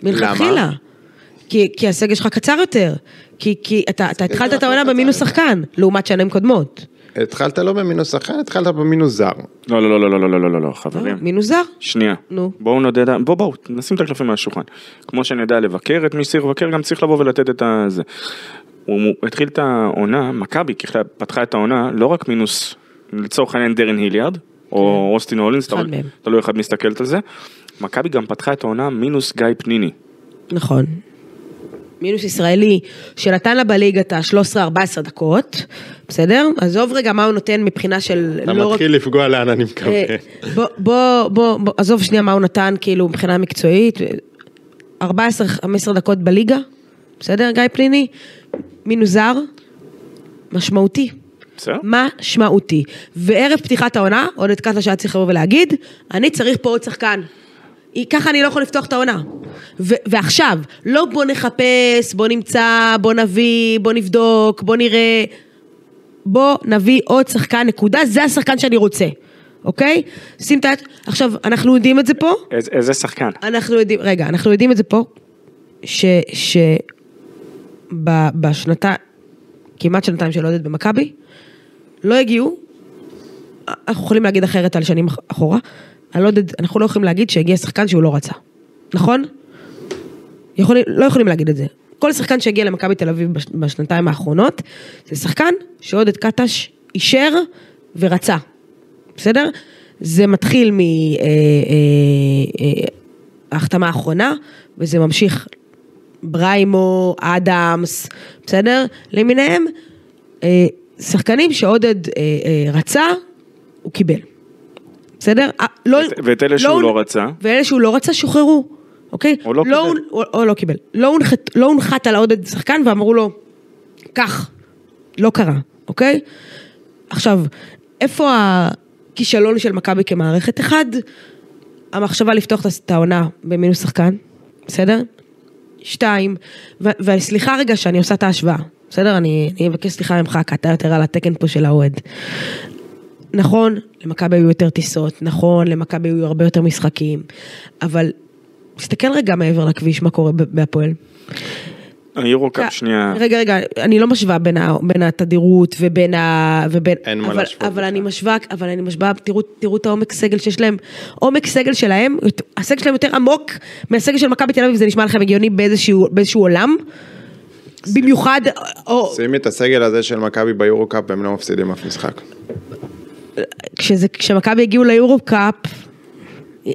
Speaker 2: מלכתחילה. כי, כי הסגל שלך קצר יותר. כי, כי אתה, אתה התחלת את
Speaker 4: שלך לא
Speaker 2: העונה
Speaker 4: קצר
Speaker 2: במינוס
Speaker 4: יותר.
Speaker 2: שחקן, לעומת שנים קודמות.
Speaker 4: התחלת לא במינוס שחקן, התחלת במינוס זר.
Speaker 3: לא, לא, לא, לא, לא, לא, לא, לא, לא,
Speaker 2: לא,
Speaker 4: אוקיי.
Speaker 3: חברים.
Speaker 2: מינוס זר?
Speaker 3: שנייה.
Speaker 2: נו.
Speaker 3: בואו נודד, בואו בואו, נשים את הקלפים מהשולחן. כמו שאני יודע לבקר את מי שצריך לבקר, גם צריך לבוא ולתת את ה... זה. הוא מו- התחיל את העונה, מכבי ככלל פתחה את העונה, לא רק מינוס, לצורך העניין דרן היליארד, או אוסטין הולינס,
Speaker 2: כן. אחד
Speaker 3: תלוי-
Speaker 2: מהם.
Speaker 3: תלוי איך את מסתכלת על זה. מכבי גם פתחה את העונה מינוס גיא פניני.
Speaker 2: נכון. מינוס ישראלי שנתן לה בליגה את ה-13-14 דקות, בסדר? עזוב רגע מה הוא נותן מבחינה של...
Speaker 4: אתה
Speaker 2: לא רק-
Speaker 4: מתחיל לפגוע לאן אני מקווה.
Speaker 2: אה, בוא, בוא, בוא, בוא, עזוב שנייה מה הוא נתן כאילו מבחינה מקצועית, 14-15 דקות בליגה, בסדר גיא פניני? מינוס זר, משמעותי.
Speaker 3: בסדר?
Speaker 2: משמעותי. וערב פתיחת העונה, עודד קטלה שהיה צריך לבוא ולהגיד, אני צריך פה עוד שחקן. היא- ככה אני לא יכול לפתוח את העונה. ו- ועכשיו, לא בוא נחפש, בוא נמצא, בוא נביא, בוא נבדוק, בוא נראה. בוא נביא עוד שחקן, נקודה, זה השחקן שאני רוצה, אוקיי? שים את היד, עכשיו, אנחנו יודעים את זה פה,
Speaker 3: איזה- איזה שחקן.
Speaker 2: אנחנו יודעים, רגע, אנחנו יודעים את זה פה, ש... ש... ב- בשנתה, כמעט שנתיים של עודד במכבי, לא הגיעו, אנחנו יכולים להגיד אחרת על שנים אח- אחורה, על עודד, אנחנו לא יכולים להגיד שהגיע שחקן שהוא לא רצה, נכון? יכולים, לא יכולים להגיד את זה. כל שחקן שהגיע למכבי תל אביב בש- בשנתיים האחרונות, זה שחקן שעודד קטש אישר ורצה, בסדר? זה מתחיל אה, מההחתמה אה, האחרונה, וזה ממשיך בריימו, אדמס, בסדר? למיניהם, אה, שחקנים שעודד אה, אה, רצה, הוא קיבל. בסדר? אה, לא-
Speaker 3: ואת- ואת אלה שהוא לא רצה?
Speaker 2: ואלה שהוא לא רצה שוחררו, אוקיי?
Speaker 3: או לא קיבל.
Speaker 2: הונ- או, או לא קיבל. לא הונחת, לא הונחת על העודד שחקן ואמרו לו, קח. לא קרה, אוקיי? עכשיו, איפה הכישלון של מכבי כמערכת? אחד, המחשבה לפתוח את העונה במינוס שחקן, בסדר? שתיים, ו- וסליחה רגע שאני עושה את ההשוואה, בסדר? אני, אני אבקש סליחה ממך, כי אתה יותר על התקן פה של האוהד. נכון, למכבי היו יותר טיסות, נכון, למכבי היו הרבה יותר משחקים, אבל תסתכל רגע מעבר לכביש, מה קורה ב- בהפועל.
Speaker 3: היורו-קאפ, שנייה.
Speaker 2: אה, רגע, רגע, אני לא משווה בין, ה, בין התדירות ובין ה... ובין,
Speaker 4: אין מה
Speaker 2: אבל,
Speaker 4: להשוות
Speaker 2: אבל
Speaker 4: בכלל.
Speaker 2: אני משווה, אבל אני משווה, תראו, תראו את העומק סגל שיש להם. עומק סגל שלהם, הסגל שלהם יותר עמוק מהסגל של מכבי תל אביב, זה נשמע לכם הגיוני באיזשהו, באיזשהו עולם? במיוחד, או,
Speaker 4: שימי את הסגל הזה של מכבי ביורו קאפ והם לא מפסידים אף משחק.
Speaker 2: כשזה, כשמכבי הגיעו ליורו קאפ,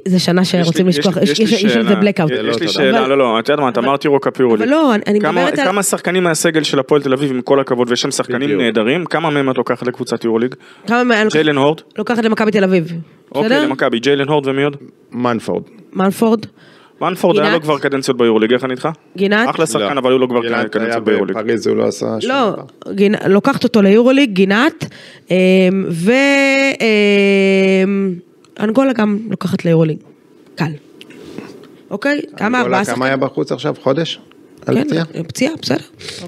Speaker 2: זה שנה שרוצים לשכוח, יש יש- יש על זה בלקאוט.
Speaker 4: זה לא
Speaker 3: יש לי
Speaker 4: אותו
Speaker 3: שאלה,
Speaker 2: דבר.
Speaker 3: לא, לא, את יודעת מה, את אמרת יורו קאפ יורו ליג.
Speaker 2: אבל לא, אני- אני
Speaker 3: כמה-
Speaker 2: מדברת על-
Speaker 3: כמה שחקנים מהסגל של הפועל תל אביב, עם כל הכבוד, ויש שם שחקנים
Speaker 4: בדיוק.
Speaker 3: נהדרים, כמה מהם את לוקחת לקבוצת יורו ליג?
Speaker 2: כמה מה...
Speaker 3: ג'יילן הורד?
Speaker 2: לוקחת למכבי תל אביב.
Speaker 3: אוקיי,
Speaker 2: אוקיי. בסדר?
Speaker 3: למכבי, ג'יילן הורד ומי עוד?
Speaker 4: מנפורד.
Speaker 2: מנפורד,
Speaker 3: מנפורד היה לו
Speaker 2: גינת?
Speaker 3: כבר קדנציות ביורו ליג, איך אני איתך?
Speaker 2: גינת.
Speaker 3: אחלה שחקן,
Speaker 4: לא.
Speaker 3: אבל היו לו כבר
Speaker 4: גלעד היה
Speaker 3: קדנציות ביורו ליג.
Speaker 4: בפריז הוא לא עשה שום
Speaker 2: לא,
Speaker 4: דבר.
Speaker 2: גינת- לוקחת אותו ליורוליג, גינת, אמ, ו... אמ, אנגולה גם לוקחת ליורוליג. קל. אוקיי? כמה?
Speaker 4: אנגולה,
Speaker 2: ארבעה
Speaker 4: כמה היה בחוץ עכשיו? חודש? על פציעה?
Speaker 2: כן, פציעה, בסדר.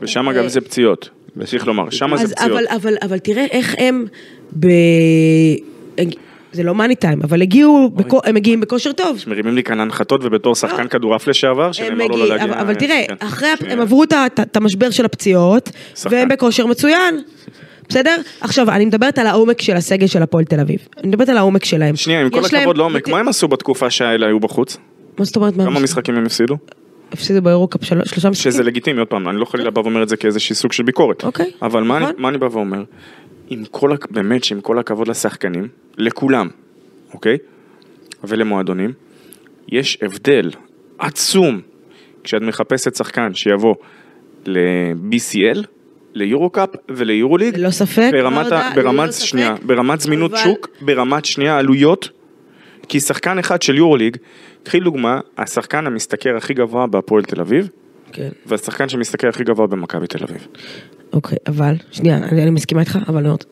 Speaker 3: ושם גם זה פציעות. צריך לומר, שם
Speaker 2: אוקיי. אז
Speaker 3: זה פציעות.
Speaker 2: אבל, אבל, אבל תראה איך הם ב... זה לא מאני טיים, אבל הגיעו, בכו... הם מגיעים בכושר טוב.
Speaker 3: מרימים לי כאן הנחתות, ובתור שחקן כדורעף לשעבר,
Speaker 2: אה. הם
Speaker 3: שנאמר לו לא
Speaker 2: מגיעים,
Speaker 3: להגיע...
Speaker 2: אבל, אבל תראה,
Speaker 3: כן.
Speaker 2: אחרי, הפ- הם עברו את ה- את ה- את המשבר של הפציעות,
Speaker 3: שחקן.
Speaker 2: והם בכושר מצוין. בסדר? עכשיו, אני מדברת על העומק של הסגל של הפועל תל אביב. אני מדברת על העומק שלהם.
Speaker 3: שנייה, עם כל
Speaker 2: יש להם-
Speaker 3: הכבוד לעומק, מה הם עשו בתקופה שהאלה היו בחוץ?
Speaker 2: מה זאת אומרת? מה
Speaker 3: כמה משחקים הם הפסידו?
Speaker 2: הפסידו באירוקאפ של... שלושה משחקים?
Speaker 3: שזה לגיטימי, עוד פעם, אני לא חלילה בא ואומר את זה כאיזשהו סוג של ביקורת.
Speaker 2: כן. אוקיי,
Speaker 3: אבל מה אני-
Speaker 2: נכון.
Speaker 3: מה אני בא ואומר? עם כל, הכ- באמת שעם כל הכבוד לשחקנים, לכולם, אוקיי? ולמועדונים, יש הבדל עצום כשאת מחפשת שחקן שיבוא ל-BCL, ליורו-קאפ וליורו-ליג.
Speaker 2: ללא לא ספק,
Speaker 3: ברמת, ה-
Speaker 2: ברדה, ללא
Speaker 3: ברמת,
Speaker 2: ספק.
Speaker 3: שנייה, ברמת זמינות
Speaker 2: אבל-
Speaker 3: שוק, ברמת שנייה עלויות, כי שחקן אחד של יורוליג, קחי דוגמה, השחקן המשתכר הכי גבוה בהפועל תל אביב,
Speaker 2: כן.
Speaker 3: והשחקן שמשתכר הכי גבוה במכבי תל אביב.
Speaker 2: אוקיי, אבל, שנייה, אני, אני מסכימה איתך, אבל מאוד.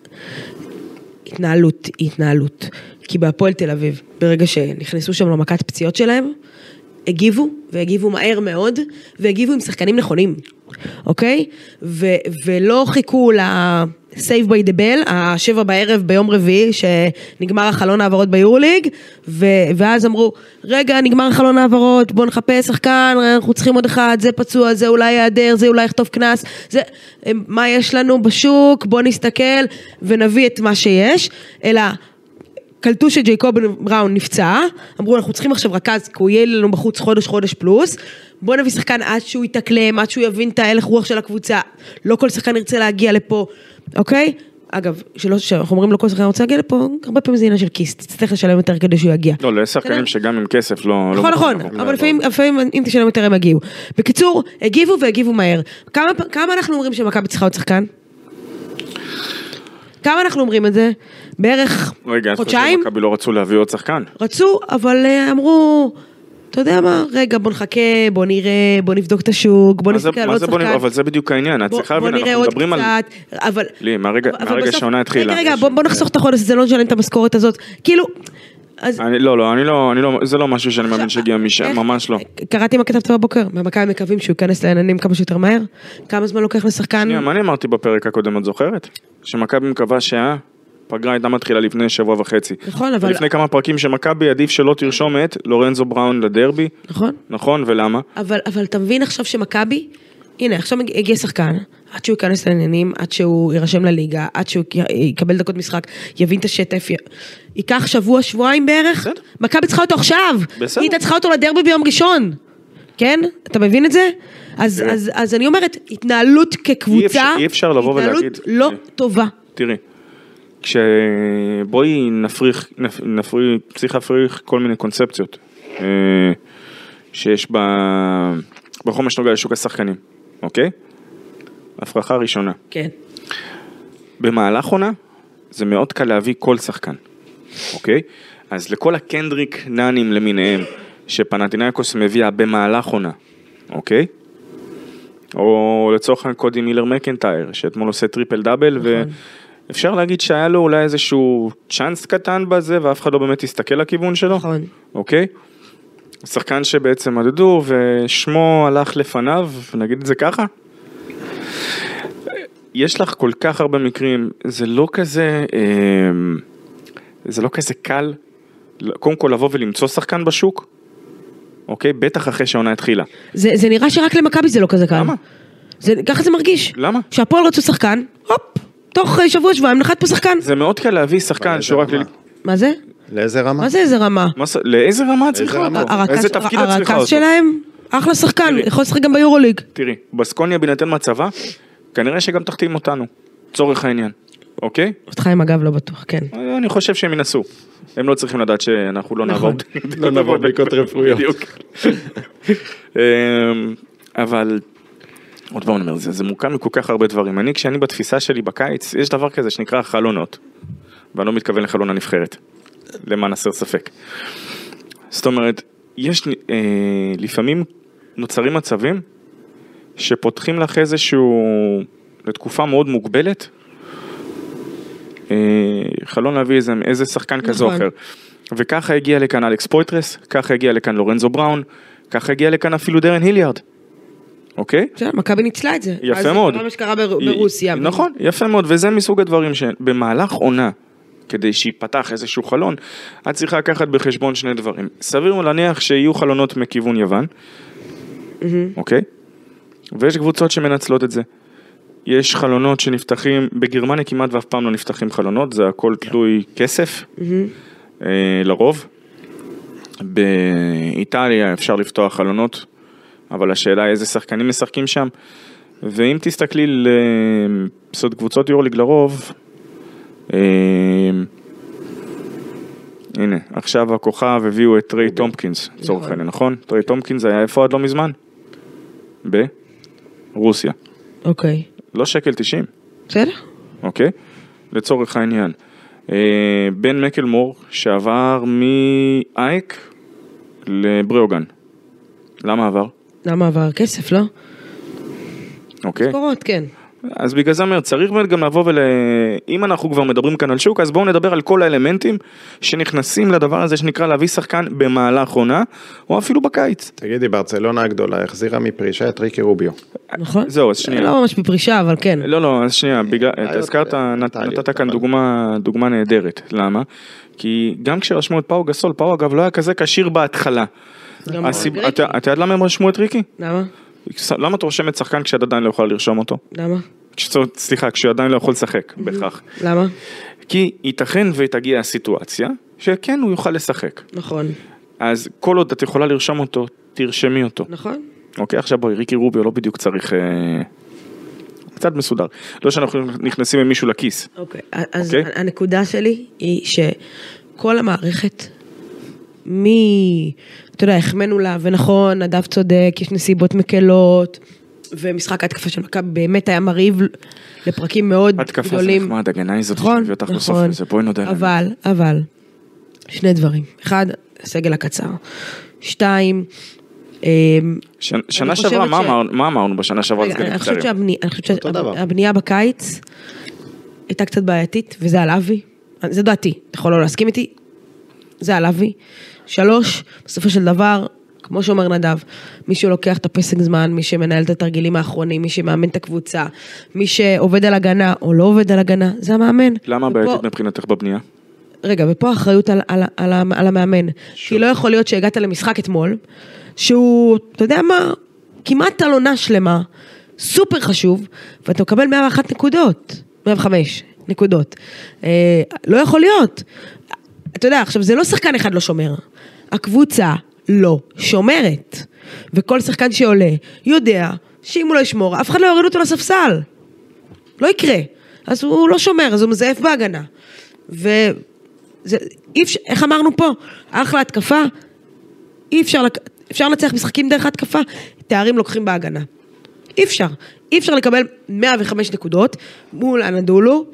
Speaker 2: התנהלות היא התנהלות. כי בהפועל תל אביב, ברגע שנכנסו שם למכת פציעות שלהם, הגיבו, והגיבו מהר מאוד, והגיבו עם שחקנים נכונים, אוקיי? ו, ולא חיכו ל... save by the bell, השבע בערב ביום רביעי שנגמר החלון העברות ביורוליג ו- ואז אמרו רגע נגמר חלון העברות בוא נחפש שחקן אנחנו צריכים עוד אחד זה פצוע זה אולי ייעדר זה אולי יכתוב קנס זה הם- מה יש לנו בשוק בוא נסתכל ונביא את מה שיש אלא קלטו שג'ייקוב בראון נפצע, אמרו אנחנו צריכים עכשיו רכז, כי הוא יהיה לנו בחוץ חודש, חודש פלוס, בוא נביא שחקן עד שהוא יתאקלם, עד שהוא יבין את ההלך רוח של הקבוצה, לא כל שחקן ירצה להגיע לפה, אוקיי? אגב, שלא, שאנחנו אומרים לא כל שחקן רוצה להגיע לפה, הרבה פעמים זה עניין של כיס, תצטרך לשלם יותר כדי שהוא יגיע.
Speaker 3: לא, יש שחקנים
Speaker 2: בסדר?
Speaker 3: שגם עם כסף לא... לא
Speaker 2: נכון,
Speaker 3: מוכנים
Speaker 2: נכון,
Speaker 3: לבוא.
Speaker 2: אבל לפעמים, לפעמים אם תשלם יותר הם יגיעו. בקיצור, הגיבו והגיבו מהר. כמה, פ- כמה אנחנו אומרים שמכבי צריכה עוד שחקן? כמה אנחנו אומרים את זה? בערך
Speaker 3: רגע, אז חושבים
Speaker 2: חודשיים?
Speaker 3: שמכבי לא רצו להביא עוד שחקן.
Speaker 2: רצו, אבל אה, אמרו, אתה יודע מה, רגע, בוא נחכה, בוא נראה, בוא נבדוק את השוק, בוא
Speaker 3: מה זה-
Speaker 2: נסתכל על
Speaker 3: מה
Speaker 2: עוד
Speaker 3: זה
Speaker 2: שחקן.
Speaker 3: בוא נראה, אבל זה בדיוק העניין, את
Speaker 2: בוא-
Speaker 3: צריכה
Speaker 2: בוא
Speaker 3: להבין,
Speaker 2: נראה
Speaker 3: אנחנו
Speaker 2: עוד
Speaker 3: מדברים על...
Speaker 2: קצת, אבל...
Speaker 3: לי, מהרגע-
Speaker 2: אבל
Speaker 3: מהרגע
Speaker 2: בסוף-
Speaker 3: שהעונה התחילה,
Speaker 2: רגע,
Speaker 3: כן.
Speaker 2: רגע,
Speaker 3: יש-
Speaker 2: בוא בוא נחסוך את החודש הזה, לא נשלם את המשכורת הזאת. כאילו, אז...
Speaker 3: אני- לא, לא, אני לא, אני לא- זה לא משהו שאני מאמין
Speaker 2: עכשיו,
Speaker 3: שהגיע משם,
Speaker 2: איך-
Speaker 3: ממש לא.
Speaker 2: קראתי מה כתבת בבוקר, מהמכבי מקווים שהוא ייכנס לעניינים כמה שיותר מהר, כמה זמן לוקח לשחקן,
Speaker 3: שנייה, מה אני אמרתי בפרק הקודם, את זוכרת? שמכבי מקווה שהפגרה הייתה מתחילה לפני שבוע וחצי.
Speaker 2: נכון, אבל-
Speaker 3: לפני כמה פרקים שמכבי עדיף שלא תרשום את לורנזו בראון לדרבי,
Speaker 2: נכון?
Speaker 3: נכון, ולמה?
Speaker 2: אבל, אבל אתה מבין עכשיו שמכבי, הנה עכשיו מג- הגיע שחקן, עד שהוא ייכנס לעניינים, עד שהוא יירשם לליגה, עד שהוא י- יקבל דקות משחק, יבין את השטף, י... ייקח שבוע, שבועיים בערך,
Speaker 3: בסדר.
Speaker 2: מכבי צריכה אותו עכשיו,
Speaker 3: בסדר.
Speaker 2: היא הייתה צריכה אותו לדרבי ביום ראשון, כן? אתה מבין את זה? אז,
Speaker 3: תראה.
Speaker 2: אז, אז אני אומרת, התנהלות כקבוצה,
Speaker 3: אה. אי אפשר- אי אפשר לבוא ולהגיד-
Speaker 2: התנהלות לא
Speaker 3: אה.
Speaker 2: טובה.
Speaker 3: תראי, כש... בואי נפריך, נפ- נפריך, צריך להפריך כל מיני קונספציות אה, שיש ב... בכל מה שנוגע לשוק השחקנים, אוקיי? הפרחה ראשונה.
Speaker 2: כן.
Speaker 3: במהלך עונה, זה מאוד קל להביא כל שחקן, אוקיי? אז לכל הקנדריק נאנים למיניהם, שפנטינאיקוס מביאה במהלך עונה, אוקיי? או לצורך העניין קודי מילר מקנטייר, שאתמול עושה טריפל דאבל, ואפשר להגיד שהיה לו אולי איזשהו צ'אנס קטן בזה, ואף אחד לא באמת הסתכל לכיוון שלו,
Speaker 2: נכון.
Speaker 3: אוקיי? שחקן שבעצם מדדו, ושמו הלך לפניו, נגיד את זה ככה? יש לך כל כך הרבה מקרים, זה לא כזה, אמ, זה לא כזה קל, קודם כל לבוא ולמצוא שחקן בשוק, אוקיי? בטח אחרי שהעונה התחילה.
Speaker 2: זה, זה נראה שרק למכבי זה לא כזה קל.
Speaker 3: למה?
Speaker 2: זה, ככה זה מרגיש.
Speaker 3: למה?
Speaker 2: שהפועל רצו שחקן, הופ, תוך אה, שבוע שבועיים נחת פה שחקן.
Speaker 3: זה מאוד קל להביא שחקן
Speaker 4: באיזה
Speaker 3: שהוא רק...
Speaker 4: רמה?
Speaker 3: ל-
Speaker 2: מה זה?
Speaker 4: לאיזה רמה?
Speaker 2: מה זה איזה רמה?
Speaker 3: מה ס- לאיזה רמה את
Speaker 4: לאיזה
Speaker 3: צריכה
Speaker 4: רמה?
Speaker 3: אותו?
Speaker 2: הרכז-
Speaker 3: איזה תפקיד את צריכה
Speaker 2: הרכז
Speaker 3: אותו?
Speaker 2: שלהם? אחלה שחקן,
Speaker 3: תראי.
Speaker 2: יכול לשחק גם ביורוליג.
Speaker 3: תראי, בסקוניה בהינתן מצבה, כנראה שגם תחתים אותנו, לצורך העניין. אוקיי?
Speaker 2: אותך עם הגב לא בטוח, כן.
Speaker 3: אני חושב שהם ינסו. הם לא צריכים לדעת שאנחנו לא נעבור
Speaker 2: נכון.
Speaker 4: לא נעבור בדיקות רפואיות.
Speaker 3: בדיוק. אמ, אבל עוד פעם אני אומר, זה, זה מורכב מכל כך הרבה דברים. אני, כשאני בתפיסה שלי בקיץ, יש דבר כזה שנקרא חלונות. ואני לא מתכוון לחלון הנבחרת, למען הסר ספק. זאת אומרת, יש אה, לפעמים נוצרים מצבים שפותחים לך איזשהו, לתקופה מאוד מוגבלת, אה, חלון להביא איזה, איזה שחקן כזה או
Speaker 2: נכון.
Speaker 3: אחר. וככה הגיע לכאן אלכס פויטרס, ככה הגיע לכאן לורנזו בראון, ככה הגיע לכאן אפילו דרן היליארד, אוקיי?
Speaker 2: בסדר, מכבי ניצלה את זה.
Speaker 3: יפה
Speaker 2: אז זה
Speaker 3: מאוד.
Speaker 2: קרה מה שקרה בר-
Speaker 3: היא-
Speaker 2: ברוסיה.
Speaker 3: נכון, יפה מאוד, וזה מסוג הדברים שבמהלך עונה, כדי שייפתח איזשהו חלון, את צריכה לקחת בחשבון שני דברים. סביר הוא להניח שיהיו חלונות מכיוון יוון, אוקיי? ויש קבוצות שמנצלות את זה. יש חלונות שנפתחים, בגרמניה כמעט ואף פעם לא נפתחים חלונות, זה הכל תלוי כסף, אה, לרוב. באיטליה אפשר לפתוח חלונות, אבל השאלה איזה שחקנים משחקים שם. ואם תסתכלי ל... זאת קבוצות יורליג לרוב, אה, הנה, עכשיו הכוכב הביאו את טריי טומפקינס, לצורך העניין, נכון? טריי טומפקינס היה איפה עד לא מזמן? ברוסיה.
Speaker 2: אוקיי.
Speaker 3: לא שקל 90,
Speaker 2: בסדר?
Speaker 3: אוקיי? לצורך העניין. אה, בן מקלמור שעבר מאייק לבריאוגן. למה עבר?
Speaker 2: למה עבר כסף, לא?
Speaker 3: אוקיי.
Speaker 2: קורות, כן.
Speaker 3: אז בגלל זה אני אומר, צריך באמת גם לבוא ול... אם אנחנו כבר מדברים כאן על שוק, אז בואו נדבר על כל האלמנטים שנכנסים לדבר הזה שנקרא להביא שחקן במהלך עונה, או אפילו בקיץ.
Speaker 4: תגידי, ברצלונה הגדולה החזירה מפרישה את ריקי רוביו.
Speaker 2: נכון?
Speaker 3: זהו, אז שנייה.
Speaker 2: לא ממש בפרישה, אבל כן.
Speaker 3: לא, לא, אז שנייה, בגלל, אתה
Speaker 4: בעיות
Speaker 3: הזכרת, נת-
Speaker 4: מנטליות,
Speaker 3: נתת כאן
Speaker 4: אבל-
Speaker 3: דוגמה, דוגמה נהדרת, למה? כי גם כשרשמו את פאו גסול, פאו אגב לא היה כזה כשיר בהתחלה.
Speaker 2: גם
Speaker 3: הסיב-
Speaker 2: ריקי.
Speaker 3: אתה אתה יודע למה הם רשמו את ריקי?
Speaker 2: למה?
Speaker 3: למה אתה רושם את שחקן כשאת עדיין לא יכולה לרשום אותו?
Speaker 2: למה?
Speaker 3: כש- סליחה, כשהוא עדיין לא יכול לשחק, בכך.
Speaker 2: למה?
Speaker 3: כי ייתכן ותגיע הסיטואציה שכן הוא יוכל לשחק.
Speaker 2: נכון.
Speaker 3: אז כל עוד את יכולה לרשום אותו, תרשמי אותו.
Speaker 2: נכון?
Speaker 3: אוקיי, עכשיו בואי, ריקי רוביו לא בדיוק צריך... אה, קצת מסודר. לא שאנחנו נכנסים עם מישהו לכיס.
Speaker 2: אוקיי, אז
Speaker 3: אוקיי?
Speaker 2: הנקודה שלי היא שכל המערכת, מי, אתה יודע, החמאנו לה, ונכון, נדב צודק, יש נסיבות מקלות, ומשחק ההתקפה של מכבי באמת היה מרהיב לפרקים מאוד
Speaker 3: התקפה זה
Speaker 2: גדולים. נכון,
Speaker 3: נחמד, הגנה היא זאת שהביא אותך לסוף הזה, בואי נודה להם.
Speaker 2: אבל, אבל, שני דברים. אחד, הסגל הקצר. שתיים, אמ,
Speaker 3: ש- שנה
Speaker 2: חושבת
Speaker 3: שעברה, מה
Speaker 2: ש-
Speaker 3: אמר- מה אמרנו בשנה שעברה? על
Speaker 2: רגע,
Speaker 3: סגלים
Speaker 2: אני חושבת
Speaker 3: קצרים?
Speaker 2: שהבני- אני חושבת
Speaker 4: אותו דבר.
Speaker 2: שהבנייה בקיץ הייתה קצת בעייתית, וזה על אבי. זה דעתי, אתה יכול לא להסכים איתי, זה על אבי. שלוש, בסופו של דבר, כמו שאומר נדב, מי שלוקח את הפסק זמן, מי שמנהל את התרגילים האחרונים, מי שמאמן את הקבוצה, מי שעובד על הגנה או לא עובד על הגנה, זה המאמן.
Speaker 3: למה
Speaker 2: ופה-
Speaker 3: הבעייתית מבחינתך בבנייה?
Speaker 2: רגע, ופה האחריות על, על, על, המ- על המאמן. כי לא יכול להיות שהגעת למשחק אתמול, שהוא, אתה יודע מה, כמעט על עונה שלמה, סופר חשוב, ואתה מקבל 101 נקודות, 105 נקודות. אה, לא יכול להיות. אתה יודע, עכשיו, זה לא שחקן אחד לא שומר. הקבוצה לא שומרת. וכל שחקן שעולה יודע שאם הוא לא ישמור, אף אחד לא יוריד אותו לספסל. לא יקרה. אז הוא לא שומר, אז הוא מזייף בהגנה. ו... זה, אי אפשר, איך אמרנו פה? אחלה התקפה, אי אפשר, לק- אפשר לנצח משחקים דרך התקפה, תארים לוקחים בהגנה. אי אפשר. אי אפשר לקבל 105 נקודות מול אנדולו,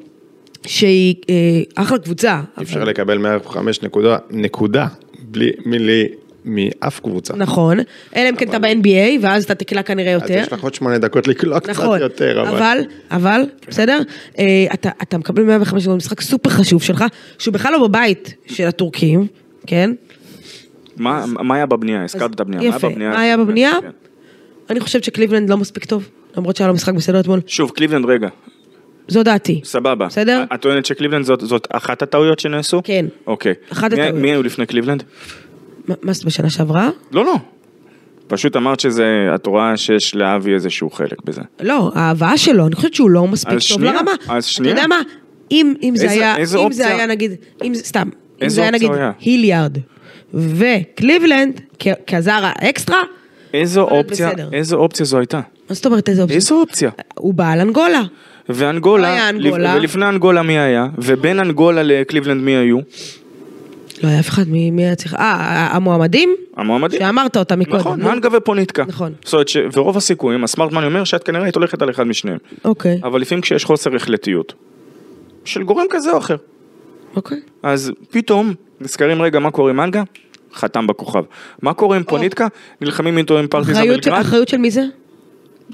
Speaker 2: שהיא אה, אחלה קבוצה.
Speaker 4: אי אפשר לקבל 105 נקודה, נקודה, בלי מילי מאף קבוצה.
Speaker 2: נכון. אלא אם כן אתה ב-NBA, ואז אתה תקלע כנראה
Speaker 4: אז
Speaker 2: יותר.
Speaker 4: יש לך עוד שמונה דקות לקלוע קצת
Speaker 2: נכון,
Speaker 4: יותר, אבל...
Speaker 2: אבל, אבל, בסדר? אה, אתה, אתה מקבל 105 נקודות משחק סופר חשוב שלך, שהוא בכלל לא בבית של הטורקים, כן?
Speaker 3: מה מה היה בבנייה? הזכרת את הבנייה. מה היה
Speaker 2: יפה.
Speaker 3: בבנייה?
Speaker 2: מה היה בבנייה?
Speaker 3: כן.
Speaker 2: אני חושבת שקליבלנד לא מספיק טוב, למרות שהיה לו משחק בסדר אתמול.
Speaker 3: שוב, קליבלנד, רגע,
Speaker 2: זו דעתי.
Speaker 3: סבבה.
Speaker 2: בסדר?
Speaker 3: את טוענת שקליבלנד זאת, זאת אחת הטעויות שנעשו?
Speaker 2: כן.
Speaker 3: אוקיי.
Speaker 2: אחת
Speaker 3: מי-
Speaker 2: הטעויות.
Speaker 3: מי היו לפני קליבלנד?
Speaker 2: מה- מה זה בשנה שעברה?
Speaker 3: לא, לא. פשוט אמרת שזה, את רואה שיש לאבי איזשהו חלק בזה.
Speaker 2: לא, ההבאה שלו, אני חושבת שהוא לא מספיק
Speaker 3: אז
Speaker 2: טוב
Speaker 3: שנייה,
Speaker 2: לרמה.
Speaker 3: אז שנייה.
Speaker 2: אתה יודע מה? אם, אם זה
Speaker 3: איזה-
Speaker 2: היה,
Speaker 3: איזה
Speaker 2: אם
Speaker 3: אופציה?
Speaker 2: זה היה נגיד, אם זה, סתם, אם
Speaker 3: איזה
Speaker 2: זה היה
Speaker 3: אופציה
Speaker 2: נגיד
Speaker 3: היה?
Speaker 2: היליארד וקליבלנד כ- כזר האקסטרה,
Speaker 3: איזו
Speaker 2: יכול להיות
Speaker 3: אופציה,
Speaker 2: בסדר.
Speaker 3: איזו אופציה זו הייתה?
Speaker 2: מה זאת אומרת איזה אופציה?
Speaker 3: איזו אופציה?
Speaker 2: הוא בעל אנגולה.
Speaker 3: ואנגולה,
Speaker 2: היה אנגולה.
Speaker 3: לפ- ולפני אנגולה מי היה? ובין אנגולה לקליבלנד מי היו?
Speaker 2: לא היה אף אחד, מי מי היה צריך... אה, המועמדים?
Speaker 3: המועמדים.
Speaker 2: שאמרת אותם מקודם.
Speaker 3: נכון,
Speaker 2: נו.
Speaker 3: מנגה ופוניטקה.
Speaker 2: נכון.
Speaker 3: זאת אומרת ש... ורוב הסיכויים, הסמארטמן אומר שאת כנראה היית הולכת על אחד משניהם.
Speaker 2: אוקיי,
Speaker 3: אבל לפעמים כשיש חוסר החלטיות, של גורם כזה או אחר,
Speaker 2: אוקיי.
Speaker 3: אז פתאום נזכרים רגע מה קורה עם מנגה, חתם בכוכב. מה קורה עם פוניטקה? נלחמים איתו עם פרטיזן
Speaker 2: אחריות של-
Speaker 3: בלגרד?
Speaker 2: אחריות של מי זה?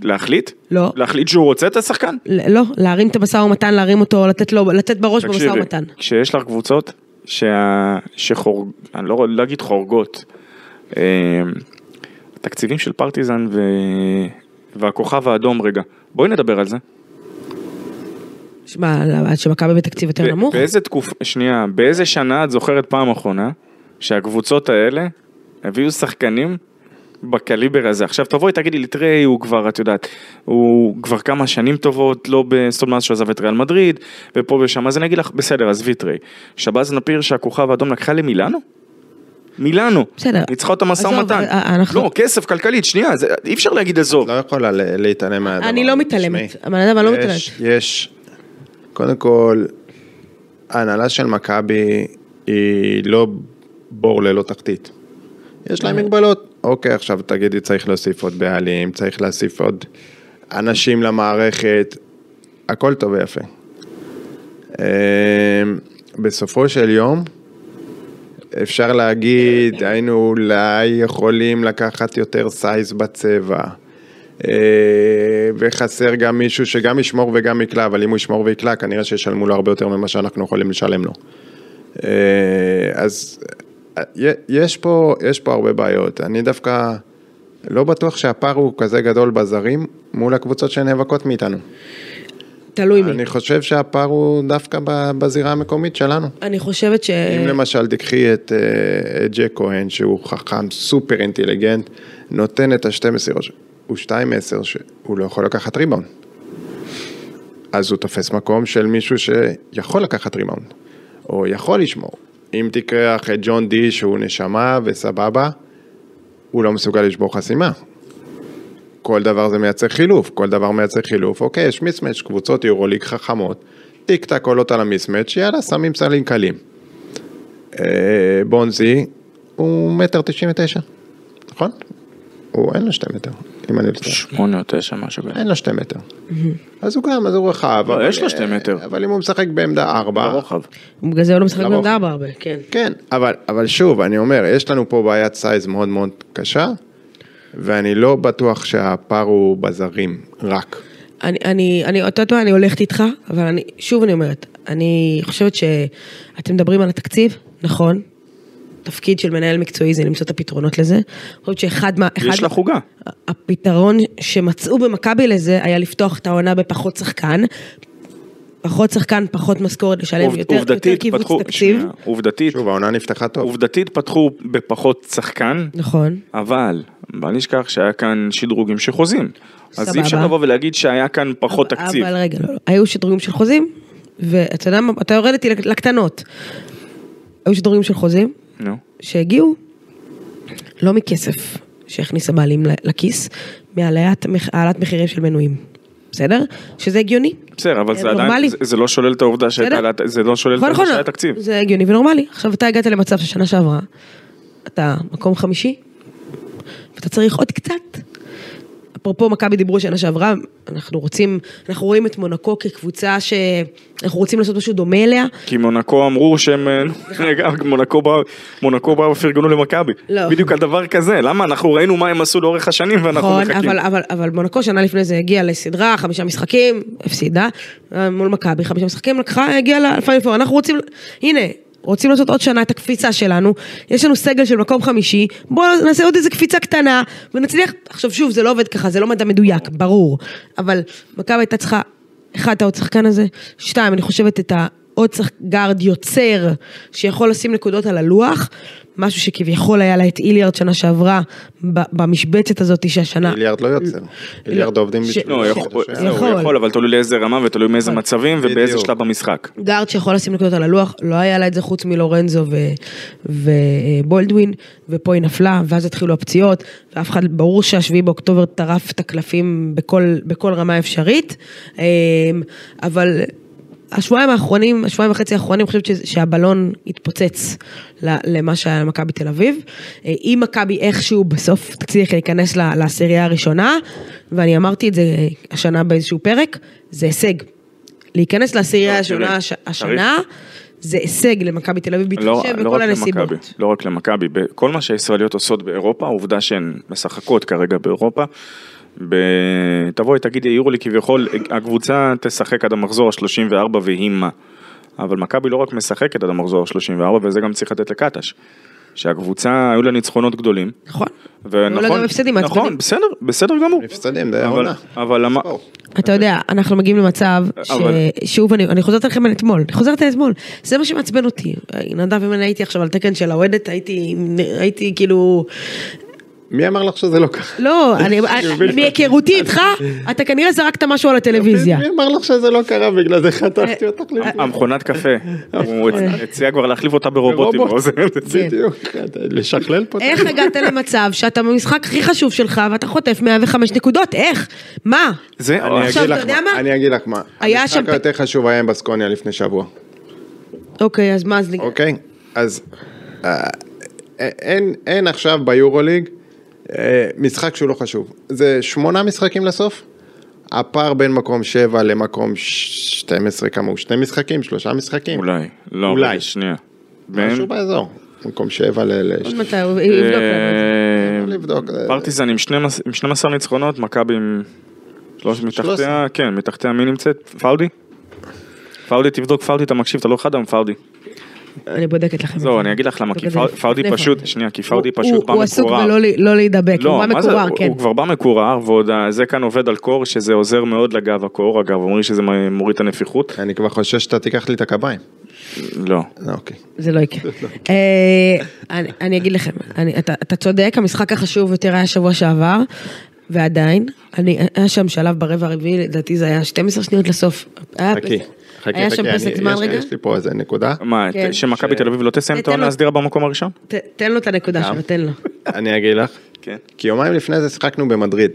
Speaker 3: להחליט?
Speaker 2: לא.
Speaker 3: להחליט שהוא רוצה את השחקן?
Speaker 2: ל- לא, להרים את המשא ומתן, להרים אותו, לתת לו, לתת בראש במשא
Speaker 3: תקשיבי,
Speaker 2: ומתן.
Speaker 3: כשיש לך קבוצות שה... שחורג... אני לא רוצה להגיד חורגות, אה, התקציבים של פרטיזן ו... והכוכב האדום רגע, בואי נדבר על זה.
Speaker 2: שמע, עד שמכבי בתקציב יותר
Speaker 3: ב-
Speaker 2: נמוך?
Speaker 3: באיזה תקופה, שנייה, באיזה שנה את זוכרת פעם אחרונה שהקבוצות האלה הביאו שחקנים בקליבר הזה? עכשיו תבואי תגידי לי, טריי הוא כבר, את יודעת, הוא כבר כמה שנים טובות, לא בסטון מאז שהוא עזב את ריאל מדריד, ופה ושם, אז אני אגיד לך, בסדר, עזבי טריי. שבאז נפיר שהכוכב האדום לקחה למילאנו? מילאנו,
Speaker 2: בסדר.
Speaker 3: ניצחה אותה משא
Speaker 2: עזוב,
Speaker 3: ומתן,
Speaker 2: אה, אה, אנחנו-
Speaker 3: לא, כסף, כלכלית, שנייה, זה- אי אפשר להגיד עזוב,
Speaker 4: לא יכולה ל- להתעלם מהדבר.
Speaker 2: אני לא
Speaker 4: הזה,
Speaker 2: מתעלמת.
Speaker 4: תשמעי.
Speaker 2: הבן אדם, אני לא מתעלמת.
Speaker 4: יש, יש, קודם כל, ההנהלה של מכבי היא לא בור ללא תחתית. יש
Speaker 2: אה.
Speaker 4: להם מגבלות. אוקיי, עכשיו תגידי, צריך להוסיף עוד בעלים, צריך להוסיף עוד אנשים למערכת, הכל טוב ויפה. אה, בסופו של יום, אפשר להגיד, היינו אולי יכולים לקחת יותר סייז בצבע. אה, וחסר גם מישהו שגם ישמור וגם יקלע, אבל אם הוא ישמור ויקלע, כנראה שישלמו לו הרבה יותר ממה שאנחנו יכולים לשלם לו. אה, אז אה, י- יש פה, יש פה הרבה בעיות. אני דווקא לא בטוח שהפער הוא כזה גדול בזרים מול הקבוצות שנאבקות מאיתנו.
Speaker 2: תלוי מי.
Speaker 4: אני חושב שהפער הוא דווקא ב- בזירה המקומית שלנו.
Speaker 2: אני חושבת ש...
Speaker 4: אם למשל תיקחי את אה, את ג'ק כהן, שהוא חכם, סופר אינטליגנט, נותן את ה-12 מסירות, ש- הוא 2 10 שהוא לא יכול לקחת ריבאונד. אז הוא תופס מקום של מישהו שיכול לקחת ריבאונד, או יכול לשמור. אם תיקח את ג'ון די שהוא נשמה וסבבה, הוא לא מסוגל לשבור חסימה. כל דבר זה מייצר חילוף, כל דבר מייצר חילוף, אוקיי, יש מיסמץ', קבוצות יורוליג חכמות, טיק טק עולות על המיסמץ', יאללה, שמים סלים קלים. אה, בונזי הוא מטר תשעים ותשע, נכון? הוא אין לו שתי מטר, אם אני לא טועה.
Speaker 3: שמונה או תשע משהו, כזה.
Speaker 4: אין לו שתי מטר. אז הוא גם, אז הוא רחב.
Speaker 3: לא,
Speaker 4: אבל- אה,
Speaker 3: יש לו שתי מטר.
Speaker 4: אבל אם הוא משחק בעמדה ארבע,
Speaker 3: ברוחב.
Speaker 2: בגלל זה הוא לא משחק
Speaker 4: לרוחב.
Speaker 2: בעמדה הרבה, כן.
Speaker 4: כן, אבל, אבל שוב, אני אומר, יש לנו פה בעיית סייז מאוד מאוד קשה, ואני לא בטוח שהפער הוא בזרים, רק.
Speaker 2: אני, אני, אני, אתה יודע, מה, אני הולכת איתך, אבל אני, שוב אני אומרת, אני חושבת שאתם מדברים על התקציב, נכון. תפקיד של מנהל מקצועי זה למצוא את הפתרונות לזה. אני חושבת שאחד מה... אחד-
Speaker 3: יש לך עוגה.
Speaker 2: הפתרון שמצאו במכבי לזה היה לפתוח את העונה בפחות שחקן. פחות שחקן, פחות משכורת לשלם,
Speaker 3: עובד-
Speaker 2: יותר יותר
Speaker 3: עובדתית
Speaker 2: קיבוץ
Speaker 3: פתחו,
Speaker 2: תקציב.
Speaker 3: שנייה, עובדתית,
Speaker 4: שוב, העונה נפתחה טוב.
Speaker 3: עובדתית פתחו בפחות שחקן,
Speaker 2: נכון.
Speaker 3: אבל בל נשכח שהיה כאן שדרוגים של חוזים. אז
Speaker 2: סבבה.
Speaker 3: אי אפשר לבוא ולהגיד שהיה כאן פחות
Speaker 2: אבל-
Speaker 3: תקציב.
Speaker 2: אבל רגע, לא, לא. היו שדרוגים של חוזים, ואתה יודע מה, אתה יורד איתי לקטנות. היו שדרוגים של חוזים,
Speaker 3: נו.
Speaker 2: שהגיעו לא מכסף שהכניס הבעלים ל- לכיס, מהעלאת מח- העלאת מחירים של מנויים, בסדר? שזה הגיוני.
Speaker 3: בסדר, אבל זה
Speaker 2: אה, נורמלי.
Speaker 3: עדיין, זה- זה לא שולל את העובדה שהייתה,
Speaker 2: בסדר?
Speaker 3: לה- זה לא שולל את
Speaker 2: נכון,
Speaker 3: העובדה
Speaker 2: נכון,
Speaker 3: שהיה תקציב.
Speaker 2: זה הגיוני ונורמלי. עכשיו אתה הגעת למצב ששנה שעברה, אתה מקום חמישי, ואתה צריך עוד קצת. אפרופו מכבי דיברו שנה שעברה, אנחנו רוצים, אנחנו רואים את מונקו כקבוצה שאנחנו רוצים לעשות משהו דומה אליה.
Speaker 3: כי מונקו אמרו שהם, אה, רגע, מונקו באו, מונקו באו ופרגנו למכבי.
Speaker 2: לא.
Speaker 3: בדיוק על דבר כזה, למה אנחנו ראינו מה הם עשו לאורך השנים ואנחנו
Speaker 2: נכון,
Speaker 3: מחכים.
Speaker 2: אבל, אבל, אבל מונקו שנה לפני זה הגיעה לסדרה, חמישה משחקים, הפסידה, מול מכבי, חמישה משחקים, לקחה, הגיעה לפיינל פור. אנחנו רוצים, הנה, רוצים לעשות עוד שנה את הקפיצה שלנו, יש לנו סגל של מקום חמישי, בואו נעשה עוד איזה קפיצה קטנה, ונצליח, עכשיו שוב, זה לא עובד ככה, זה לא מדע מדויק, ברור, אבל מכבי הייתה צריכה, אחד, את העוד שחקן הזה, שתיים, אני חושבת את ה... עוד שחק גארד יוצר שיכול לשים נקודות על הלוח, משהו שכביכול היה לה את איליארד שנה שעברה ב- במשבצת הזאת שהשנה.
Speaker 4: איליארד לא יוצר. איליארד עובדים
Speaker 2: ש-
Speaker 4: בשביל...
Speaker 3: לא,
Speaker 2: ש-
Speaker 3: יכול-
Speaker 4: הוא-
Speaker 3: זהו, הוא
Speaker 2: יכול.
Speaker 3: יכול, אבל תלוי לאיזה רמה ותלוי מאיזה
Speaker 2: נכון.
Speaker 3: מצבים ובאיזה
Speaker 4: בדיוק.
Speaker 3: שלב במשחק.
Speaker 2: גארד שיכול לשים נקודות על הלוח, לא היה לה את זה חוץ מלורנזו ובולדווין, ופה היא נפלה, ואז התחילו הפציעות, ואף אחד, ברור שהשביעי באוקטובר טרף את הקלפים בכל, בכל רמה אפשרית, אה, אבל השבועיים האחרונים, השבועיים וחצי האחרונים, אני חושבת שזה- שהבלון התפוצץ ל- למה שהיה למכבי תל אביב. אה, אם מכבי איכשהו בסוף תצליח להיכנס ל- לעשירייה הראשונה, ואני אמרתי את זה אה, השנה באיזשהו פרק, זה הישג. להיכנס לעשירייה
Speaker 3: לא,
Speaker 2: הראשונה
Speaker 3: תראה,
Speaker 2: הש- השנה, זה הישג למכבי תל אביב,
Speaker 3: לא,
Speaker 2: בהתחשב
Speaker 3: לא
Speaker 2: בכל
Speaker 3: רק למכבי,
Speaker 2: הנסיבות.
Speaker 3: לא רק למכבי, כל מה שהישראליות עושות באירופה, העובדה שהן משחקות כרגע באירופה, ב... תבואי תגידי יורו לי כביכול, הקבוצה תשחק עד המחזור ה-34 והיא מה. אבל מכבי לא רק משחקת עד המחזור ה-34 וזה גם צריך לתת לקטש. שהקבוצה, היו לה ניצחונות גדולים.
Speaker 2: נכון.
Speaker 3: ונכון,
Speaker 2: גם הפסדים מעצבנים.
Speaker 3: נכון, בסדר, בסדר גמור.
Speaker 4: הפסדים, זה
Speaker 3: אבל-
Speaker 4: העונה.
Speaker 3: אבל למה-
Speaker 4: בואו.
Speaker 2: אתה יודע, אנחנו מגיעים למצב, ש-
Speaker 3: אבל-
Speaker 2: שוב, אני אני חוזרת אליכם על אתמול, אני חוזרת על אתמול, זה מה שמעצבן אותי. אה, נדב, אם אני הייתי עכשיו על תקן של האוהדת, הייתי הייתי כאילו...
Speaker 4: מי אמר לך שזה לא ככה?
Speaker 2: לא, אני- מהיכרותי איתך, אתה כנראה זרקת משהו על הטלוויזיה.
Speaker 4: מי אמר לך שזה לא קרה? בגלל זה חטפתי
Speaker 2: אה,
Speaker 4: אותך לפני.
Speaker 3: המכונת קפה, הוא הציע כבר להחליף אותה ברובוטים.
Speaker 4: ברובוט.
Speaker 3: לא זה-
Speaker 2: כן.
Speaker 4: בדיוק, לשכלל פה. את
Speaker 2: איך
Speaker 4: זה.
Speaker 2: הגעת למצב שאתה במשחק הכי חשוב שלך ואתה חוטף 105 נקודות? איך? מה?
Speaker 3: זה,
Speaker 4: אני
Speaker 2: עכשיו,
Speaker 4: אגיד
Speaker 2: אתה
Speaker 4: לך
Speaker 2: יודע מה?
Speaker 4: אני אגיד לך מה.
Speaker 2: היה שם-
Speaker 4: המשחק היותר חשוב היה עם בסקוניה לפני שבוע,
Speaker 2: אוקיי, אז מה, אז... נג-
Speaker 4: אוקיי? אז אה, אין- אין עכשיו ביורוליג אה, משחק שהוא לא חשוב. זה שמונה משחקים לסוף. הפער בין מקום שבע למקום 12 כמה הוא? שני משחקים? שלושה משחקים?
Speaker 2: כן.
Speaker 3: אולי, כן. לא,
Speaker 4: אולי.
Speaker 3: רגע, שנייה.
Speaker 4: משהו באזור. מקום שבע ל... ל-
Speaker 2: עוד מתי, הוא יבדוק לנו את
Speaker 3: אה,
Speaker 2: זה.
Speaker 4: לבדוק.
Speaker 2: אה,
Speaker 3: פרטיזן עם 12 עם 12 ניצחונות, מכבי עם... שלוש מתחתיה,
Speaker 4: 13.
Speaker 3: כן, מתחתיה מי נמצאת? פאודי? פאודי תבדוק, פאודי אתה מקשיב, אתה לא חדם, פאודי.
Speaker 2: אני בודקת לכם. את
Speaker 3: זהו,
Speaker 2: זה.
Speaker 3: אני אגיד לך למה, כי
Speaker 2: בגלל זה.
Speaker 3: פאו- פאודי
Speaker 2: לפני
Speaker 3: פשוט,
Speaker 2: פאודי.
Speaker 3: שנייה, כי פאודי
Speaker 2: הוא-
Speaker 3: פשוט בא מקורר.
Speaker 2: הוא עסוק בלא ל- לא להידבק, הוא בא
Speaker 3: מה זה,
Speaker 2: מקורר,
Speaker 3: הוא-
Speaker 2: כן.
Speaker 3: הוא כבר בא מקורר, ועוד ה- זה כאן עובד על קור, שזה עוזר מאוד לגב הקור, אגב, אומרים שזה מ- מוריד את הנפיחות.
Speaker 2: כן.
Speaker 4: אני כבר חושש שאתה תיקח לי את הקביים.
Speaker 3: לא.
Speaker 4: אוקיי.
Speaker 2: זה לא יקרה. אה, אני- אני אגיד לכם, אני- אתה אתה צודק, המשחק החשוב יותר היה שבוע שעבר, ועדיין, אני- היה שם שלב ברבע הרביעי, לדעתי זה היה 12 שניות לסוף. היה
Speaker 4: חכי.
Speaker 2: פסק-
Speaker 4: חכי,
Speaker 2: היה
Speaker 4: חכי,
Speaker 2: שם
Speaker 4: אני-
Speaker 2: פסק זמן
Speaker 4: יש-
Speaker 2: רגע?
Speaker 4: יש לי פה איזה נקודה.
Speaker 3: מה, את-
Speaker 2: כן.
Speaker 3: שמכבי תל אביב לא תסיים את
Speaker 2: תן
Speaker 3: העונה
Speaker 2: לו.
Speaker 3: הסדירה במקום הראשון?
Speaker 2: ת- תן לו את הנקודה
Speaker 4: גם.
Speaker 2: שלו, תן לו.
Speaker 4: אני אגיד לך.
Speaker 3: כן.
Speaker 4: כי יומיים לפני זה שיחקנו במדריד.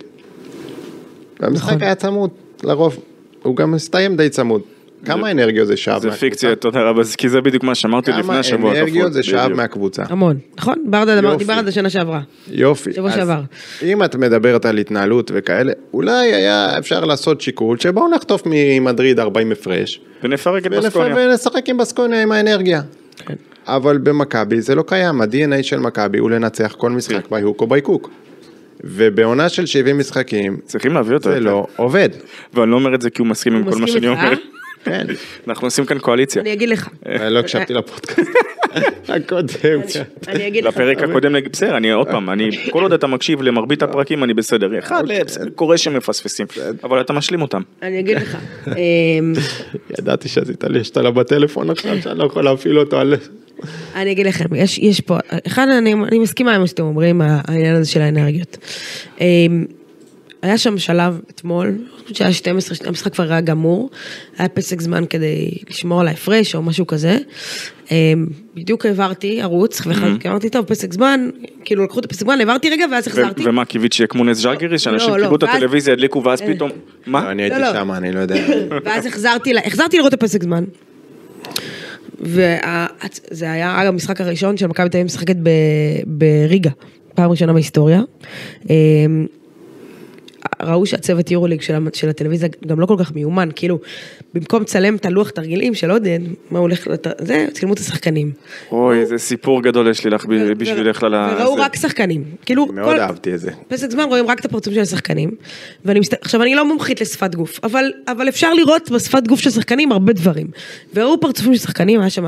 Speaker 3: נכון.
Speaker 4: והמשחק היה צמוד, לרוב. הוא גם הסתיים די צמוד. כמה אנרגיות זה שאב
Speaker 3: זה
Speaker 4: מהקבוצה?
Speaker 3: פיקציה, תודה רבה, זה- כי זה בדיוק מה שאמרתי לפני
Speaker 4: אה, כמה
Speaker 3: השבוע.
Speaker 4: אנרגיות
Speaker 3: הכפול,
Speaker 4: זה שאב
Speaker 3: בדיוק.
Speaker 4: מהקבוצה.
Speaker 2: המון, נכון? ברדה אמר-
Speaker 4: יופי.
Speaker 2: דיבר על זה שנה שעברה.
Speaker 4: יופי.
Speaker 2: שבוע
Speaker 4: אז
Speaker 2: שעבר.
Speaker 4: אם את מדברת על התנהלות וכאלה, אולי היה אפשר לעשות שיקול שבואו נחטוף ממדריד 40 הפרש.
Speaker 3: ונפרק את
Speaker 4: ונפ-
Speaker 3: בסקוניה.
Speaker 4: ונשחק עם בסקוניה עם האנרגיה.
Speaker 2: כן.
Speaker 4: אבל במכבי זה לא קיים, ה-DNA של מכבי הוא לנצח כל משחק
Speaker 3: כן.
Speaker 4: בהוק או בהיקוק. ובעונה של 70 משחקים,
Speaker 3: צריכים להביא אותו.
Speaker 4: זה
Speaker 3: יותר.
Speaker 4: לא עובד.
Speaker 3: ואני לא אומר את זה כי הוא מסכים עם
Speaker 2: הוא
Speaker 3: כל מה
Speaker 2: מסכים
Speaker 3: שאני
Speaker 2: איתך?
Speaker 3: אומר.
Speaker 4: כן,
Speaker 3: אנחנו עושים כאן קואליציה.
Speaker 2: אני אגיד לך.
Speaker 4: לא הקשבתי לפודקאסט הקודם.
Speaker 2: אני אגיד לך.
Speaker 3: לפרק הקודם, נגיד, בסדר, אני עוד פעם, אני, כל עוד אתה מקשיב למרבית
Speaker 4: לא.
Speaker 3: הפרקים, אני
Speaker 4: אוקיי.
Speaker 3: בסדר. אחד, ל- קורה שמפספסים, אבל אתה משלים אותם.
Speaker 2: אני אגיד לך. אמ,
Speaker 4: ידעתי שעשית לי שתלה בטלפון עכשיו, שאני לא יכול להפעיל אותו על...
Speaker 2: אני אגיד לכם, יש, יש פה, אחד, אני, אני מסכימה עם מה שאתם אומרים, העניין הזה של האנרגיות. אמ, היה שם שלב אתמול, אני חושבת שהיה 12, המשחק כבר היה גמור, היה פסק זמן כדי לשמור על ההפרש או משהו כזה. אמ, בדיוק העברתי ערוץ, ואמרתי, טוב, פסק זמן, כאילו לקחו את הפסק זמן, העברתי רגע ואז החזרתי.
Speaker 3: ו- ומה, קיווית שיהיה כמו נס ז'אגרי, שאנשים
Speaker 2: לא,
Speaker 3: קיבלו את
Speaker 2: ואז- אה.
Speaker 3: הטלוויזיה, הדליקו, ואז פתאום, מה?
Speaker 4: אני הייתי
Speaker 2: לא.
Speaker 4: שם, אני לא יודע.
Speaker 2: ואז החזרתי, ל- החזרתי לראות את הפסק זמן. וזה היה, אגב, המשחק הראשון של מכבי תל אביב משחקת ב- בריגה, פעם ראשונה בהיסטוריה. אמ, ראו שהצוות יורוליג של, המ- של הטלוויזיה גם לא כל כך מיומן, כאילו, במקום לצלם את הלוח תרגילים של עודד, מה הולך, לת- זה, צילמו את השחקנים.
Speaker 3: אוי, איזה סיפור גדול יש לי לך ב- בשבילך על ה...
Speaker 2: וראו
Speaker 3: זה.
Speaker 2: רק שחקנים. כאילו,
Speaker 4: מאוד אהבתי את זה.
Speaker 2: פסק זמן רואים רק את הפרצוף של השחקנים. ואני מסת... עכשיו, אני לא מומחית לשפת גוף, אבל, אבל אפשר לראות בשפת גוף של שחקנים הרבה דברים. וראו פרצופים של שחקנים, היה שם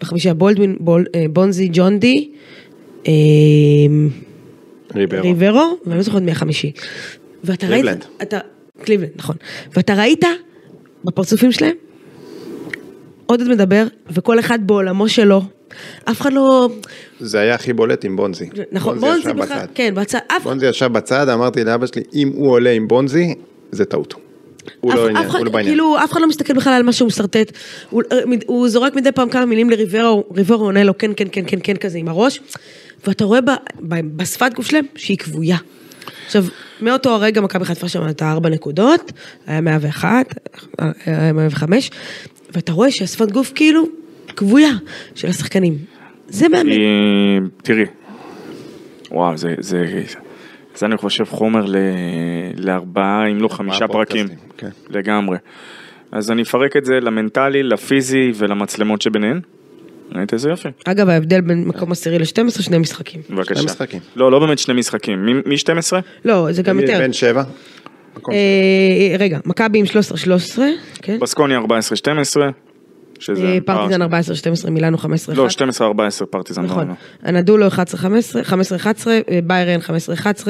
Speaker 2: בחמישה בולדווין, בול, אה, בונזי, ג'ונדי, אה,
Speaker 4: ריברו.
Speaker 2: ריברו, ואני לא זוכרת מי החמישי. ואתה ראית...
Speaker 4: קליבלנד.
Speaker 2: אתה, קליבלנד, נכון. ואתה ראית בפרצופים שלהם עודד מדבר, וכל אחד בעולמו שלו. אף אחד לא...
Speaker 4: זה היה הכי בולט עם בונזי.
Speaker 2: נכון,
Speaker 4: ישב
Speaker 2: בונזי בכלל,
Speaker 4: בצד.
Speaker 2: כן, בצד, אף
Speaker 4: בונזי ישב בצד, אמרתי לאבא שלי, אם הוא עולה עם בונזי, זה טעות. הוא
Speaker 2: אף-
Speaker 4: לא
Speaker 2: אף
Speaker 4: עניין,
Speaker 2: אחד-
Speaker 4: הוא לא בעניין.
Speaker 2: כאילו, אף אחד לא מסתכל בכלל על מה שהוא משרטט. הוא- אה, מד- הוא זורק מדי פעם כמה מילים לריברו, ריברו עונה לו כן, כן, כן, כן, כן, כזה עם הראש, ואתה רואה ב- ב- בשפת גוף שלהם שהיא כבויה. עכשיו, מאותו הרגע מכבי חיפה שם עלתה ארבע נקודות, היה 101, אה, היה 105, ואתה רואה שהשפת גוף כאילו כבויה של השחקנים. זה מאמן.
Speaker 3: אה, תראי, וואו, זה, זה, זה אני חושב חומר ל, לארבעה, אם לא חמישה פרקים,
Speaker 4: פודקאסטים, כן.
Speaker 3: לגמרי. אז אני אפרק את זה למנטלי, לפיזי ולמצלמות שביניהן. ראית איזה יופי,
Speaker 2: אגב, ההבדל בין מקום עשירי ל-12, שני משחקים.
Speaker 3: בבקשה.
Speaker 4: משחקים.
Speaker 3: לא, לא באמת שני משחקים, מ- מי 12?
Speaker 2: לא, זה גם יותר. אוקיי.
Speaker 4: בן שבע. מקום
Speaker 2: אה, רגע, מכבי עם 13-13, כן?
Speaker 3: בסקוני 14-12, שזה...
Speaker 2: אה,
Speaker 3: פער-
Speaker 2: פרטיזן 14-12, מילאנו 15-1.
Speaker 3: לא, 12-14 פרטיזן.
Speaker 2: נכון.
Speaker 3: לא,
Speaker 2: הנדולו 11-15, 15-11, אה, ביירן 15-11,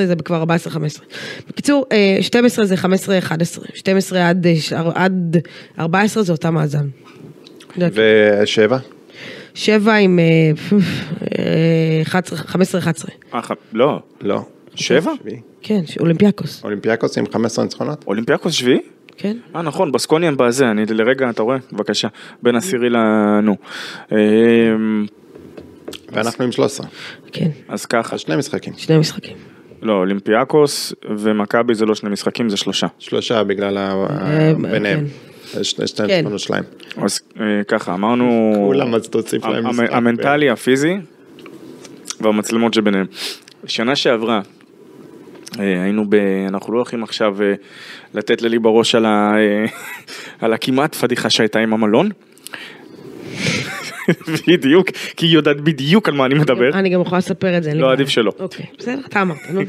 Speaker 2: זה כבר 14-15. בקיצור, אה, 12 זה 15-11, 12 עד, אה, ש- עד 14 זה אותה מאזן.
Speaker 4: ושבע.
Speaker 2: 7 עם אה, אה, 11, 15-11,
Speaker 3: לא. אה, ח- לא,
Speaker 4: לא.
Speaker 3: שבע?
Speaker 4: שביעי.
Speaker 2: כן, ש- אולימפיאקוס,
Speaker 4: אולימפיאקוס עם 15 ניצחונות?
Speaker 3: אולימפיאקוס שביעי?
Speaker 2: כן?
Speaker 3: אה נכון, בסקוני הם בזה, אני לרגע, אתה רואה? בבקשה, בין עשירי ל... נו. אה,
Speaker 4: ואנחנו עם 13.
Speaker 2: כן,
Speaker 3: אז ככה,
Speaker 4: אז שני משחקים.
Speaker 2: שני משחקים.
Speaker 3: לא, אולימפיאקוס ומכבי זה לא שני משחקים, זה שלושה.
Speaker 4: שלושה בגלל ה...
Speaker 2: אה,
Speaker 4: ביניהם. שני שני
Speaker 2: כן.
Speaker 4: ניצחונות שלהם.
Speaker 3: אז אה, ככה, אמרנו...
Speaker 4: כולם, אז תוסיף
Speaker 3: המ-
Speaker 4: להם
Speaker 3: המ-
Speaker 4: משחק. כן.
Speaker 3: המנטלי, הפיזי והמצלמות שביניהם. שנה שעברה, אה, היינו ב... אנחנו לא הולכים עכשיו אה, לתת ללי בראש על ה... אה, על הכמעט פדיחה שהייתה עם המלון. בדיוק, כי היא יודעת בדיוק על מה אני מדבר.
Speaker 2: אה, אני גם יכולה לספר את זה. אין לי
Speaker 3: לא,
Speaker 2: בעיה.
Speaker 3: עדיף שלא.
Speaker 2: אוקיי, בסדר, אתה אמרת, נו.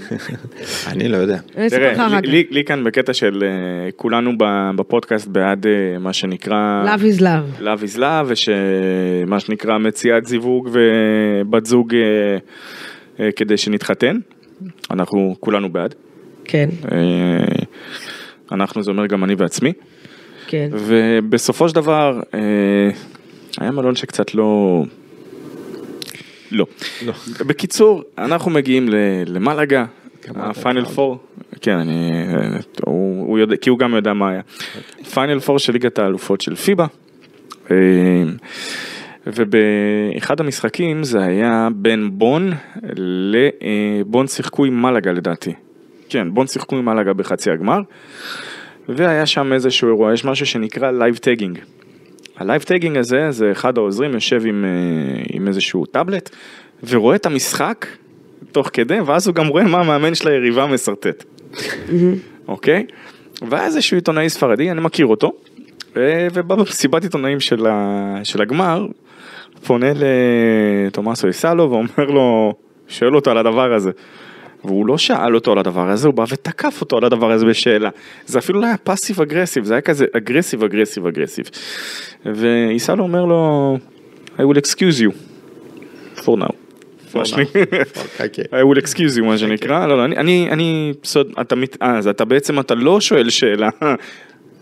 Speaker 4: אני לא יודע.
Speaker 2: אני אספר לך
Speaker 3: תראה,
Speaker 2: אחר
Speaker 3: לי-
Speaker 2: כך.
Speaker 3: לי- לי כאן בקטע של אה, כולנו ב- בפודקאסט בעד אה, מה שנקרא...
Speaker 2: Love is love.
Speaker 3: לאו איז לאו, ושמה שנקרא מציאת זיווג ובת זוג אה, אה, כדי שנתחתן. אנחנו כולנו בעד.
Speaker 2: כן,
Speaker 3: אה, אנחנו זה אומר גם אני בעצמי.
Speaker 2: כן.
Speaker 3: ובסופו של דבר, אה, היה מלון שקצת לא... לא. בקיצור, אנחנו מגיעים ל- למלגה, הפיינל פור, כן, אני... אה, הוא הוא יודע, כי הוא גם יודע מה היה. פיינל פור של ליגת האלופות של פיבה. אה, ובאחד המשחקים זה היה בין בון לבון שיחקו עם מלגה לדעתי. כן, בון שיחקו עם מלגה בחצי הגמר. והיה שם איזשהו אירוע, יש משהו שנקרא לייב טגינג. הלייב טגינג הזה, זה אחד העוזרים יושב עם, אה, עם איזשהו טאבלט ורואה את המשחק תוך כדי, ואז הוא גם רואה מה המאמן של היריבה משרטט. אוקיי? והיה איזשהו עיתונאי ספרדי, אני מכיר אותו, אה, ובא במסיבת עיתונאים של, ה, של הגמר, פונה לתומאסו איסלו ואומר לו, שואל אותו על הדבר הזה. והוא לא שאל אותו על הדבר הזה, הוא בא ותקף אותו על הדבר הזה בשאלה. זה אפילו לא היה פאסיב אגרסיב, זה היה כזה אגרסיב אגרסיב אגרסיב. ואיסלו אומר לו, I will excuse you. for now. מה שנקרא.
Speaker 4: חכה.
Speaker 3: I will excuse you מה שנקרא, לא, לא, אני, אני, אני, סוד, אתה מת, אה, אז אתה בעצם, אתה לא שואל שאלה,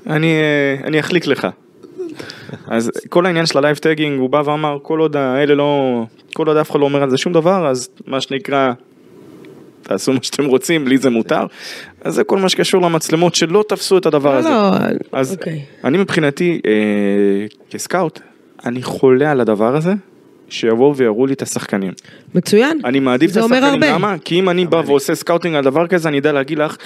Speaker 3: אני, אה, אני אחליק לך. אז כל העניין של הלייב טגינג, הוא בא ואמר, כל עוד האלה לא, כל עוד אף אחד לא אומר על זה שום דבר, אז מה שנקרא, תעשו מה שאתם רוצים, לי זה מותר. אז זה כל מה שקשור למצלמות שלא תפסו את הדבר
Speaker 2: לא,
Speaker 3: הזה.
Speaker 2: לא,
Speaker 3: אז
Speaker 2: אוקיי.
Speaker 3: אני מבחינתי, אה, כסקאוט, אני חולה על הדבר הזה, שיבואו ויראו לי את השחקנים.
Speaker 2: מצוין.
Speaker 3: אני מעדיף את
Speaker 2: כן, זה אומר
Speaker 3: השחקנים,
Speaker 2: הרבה.
Speaker 3: למה? כי אם אני בא ועושה סקאוטינג על דבר כזה, אני יודע להגיד לך,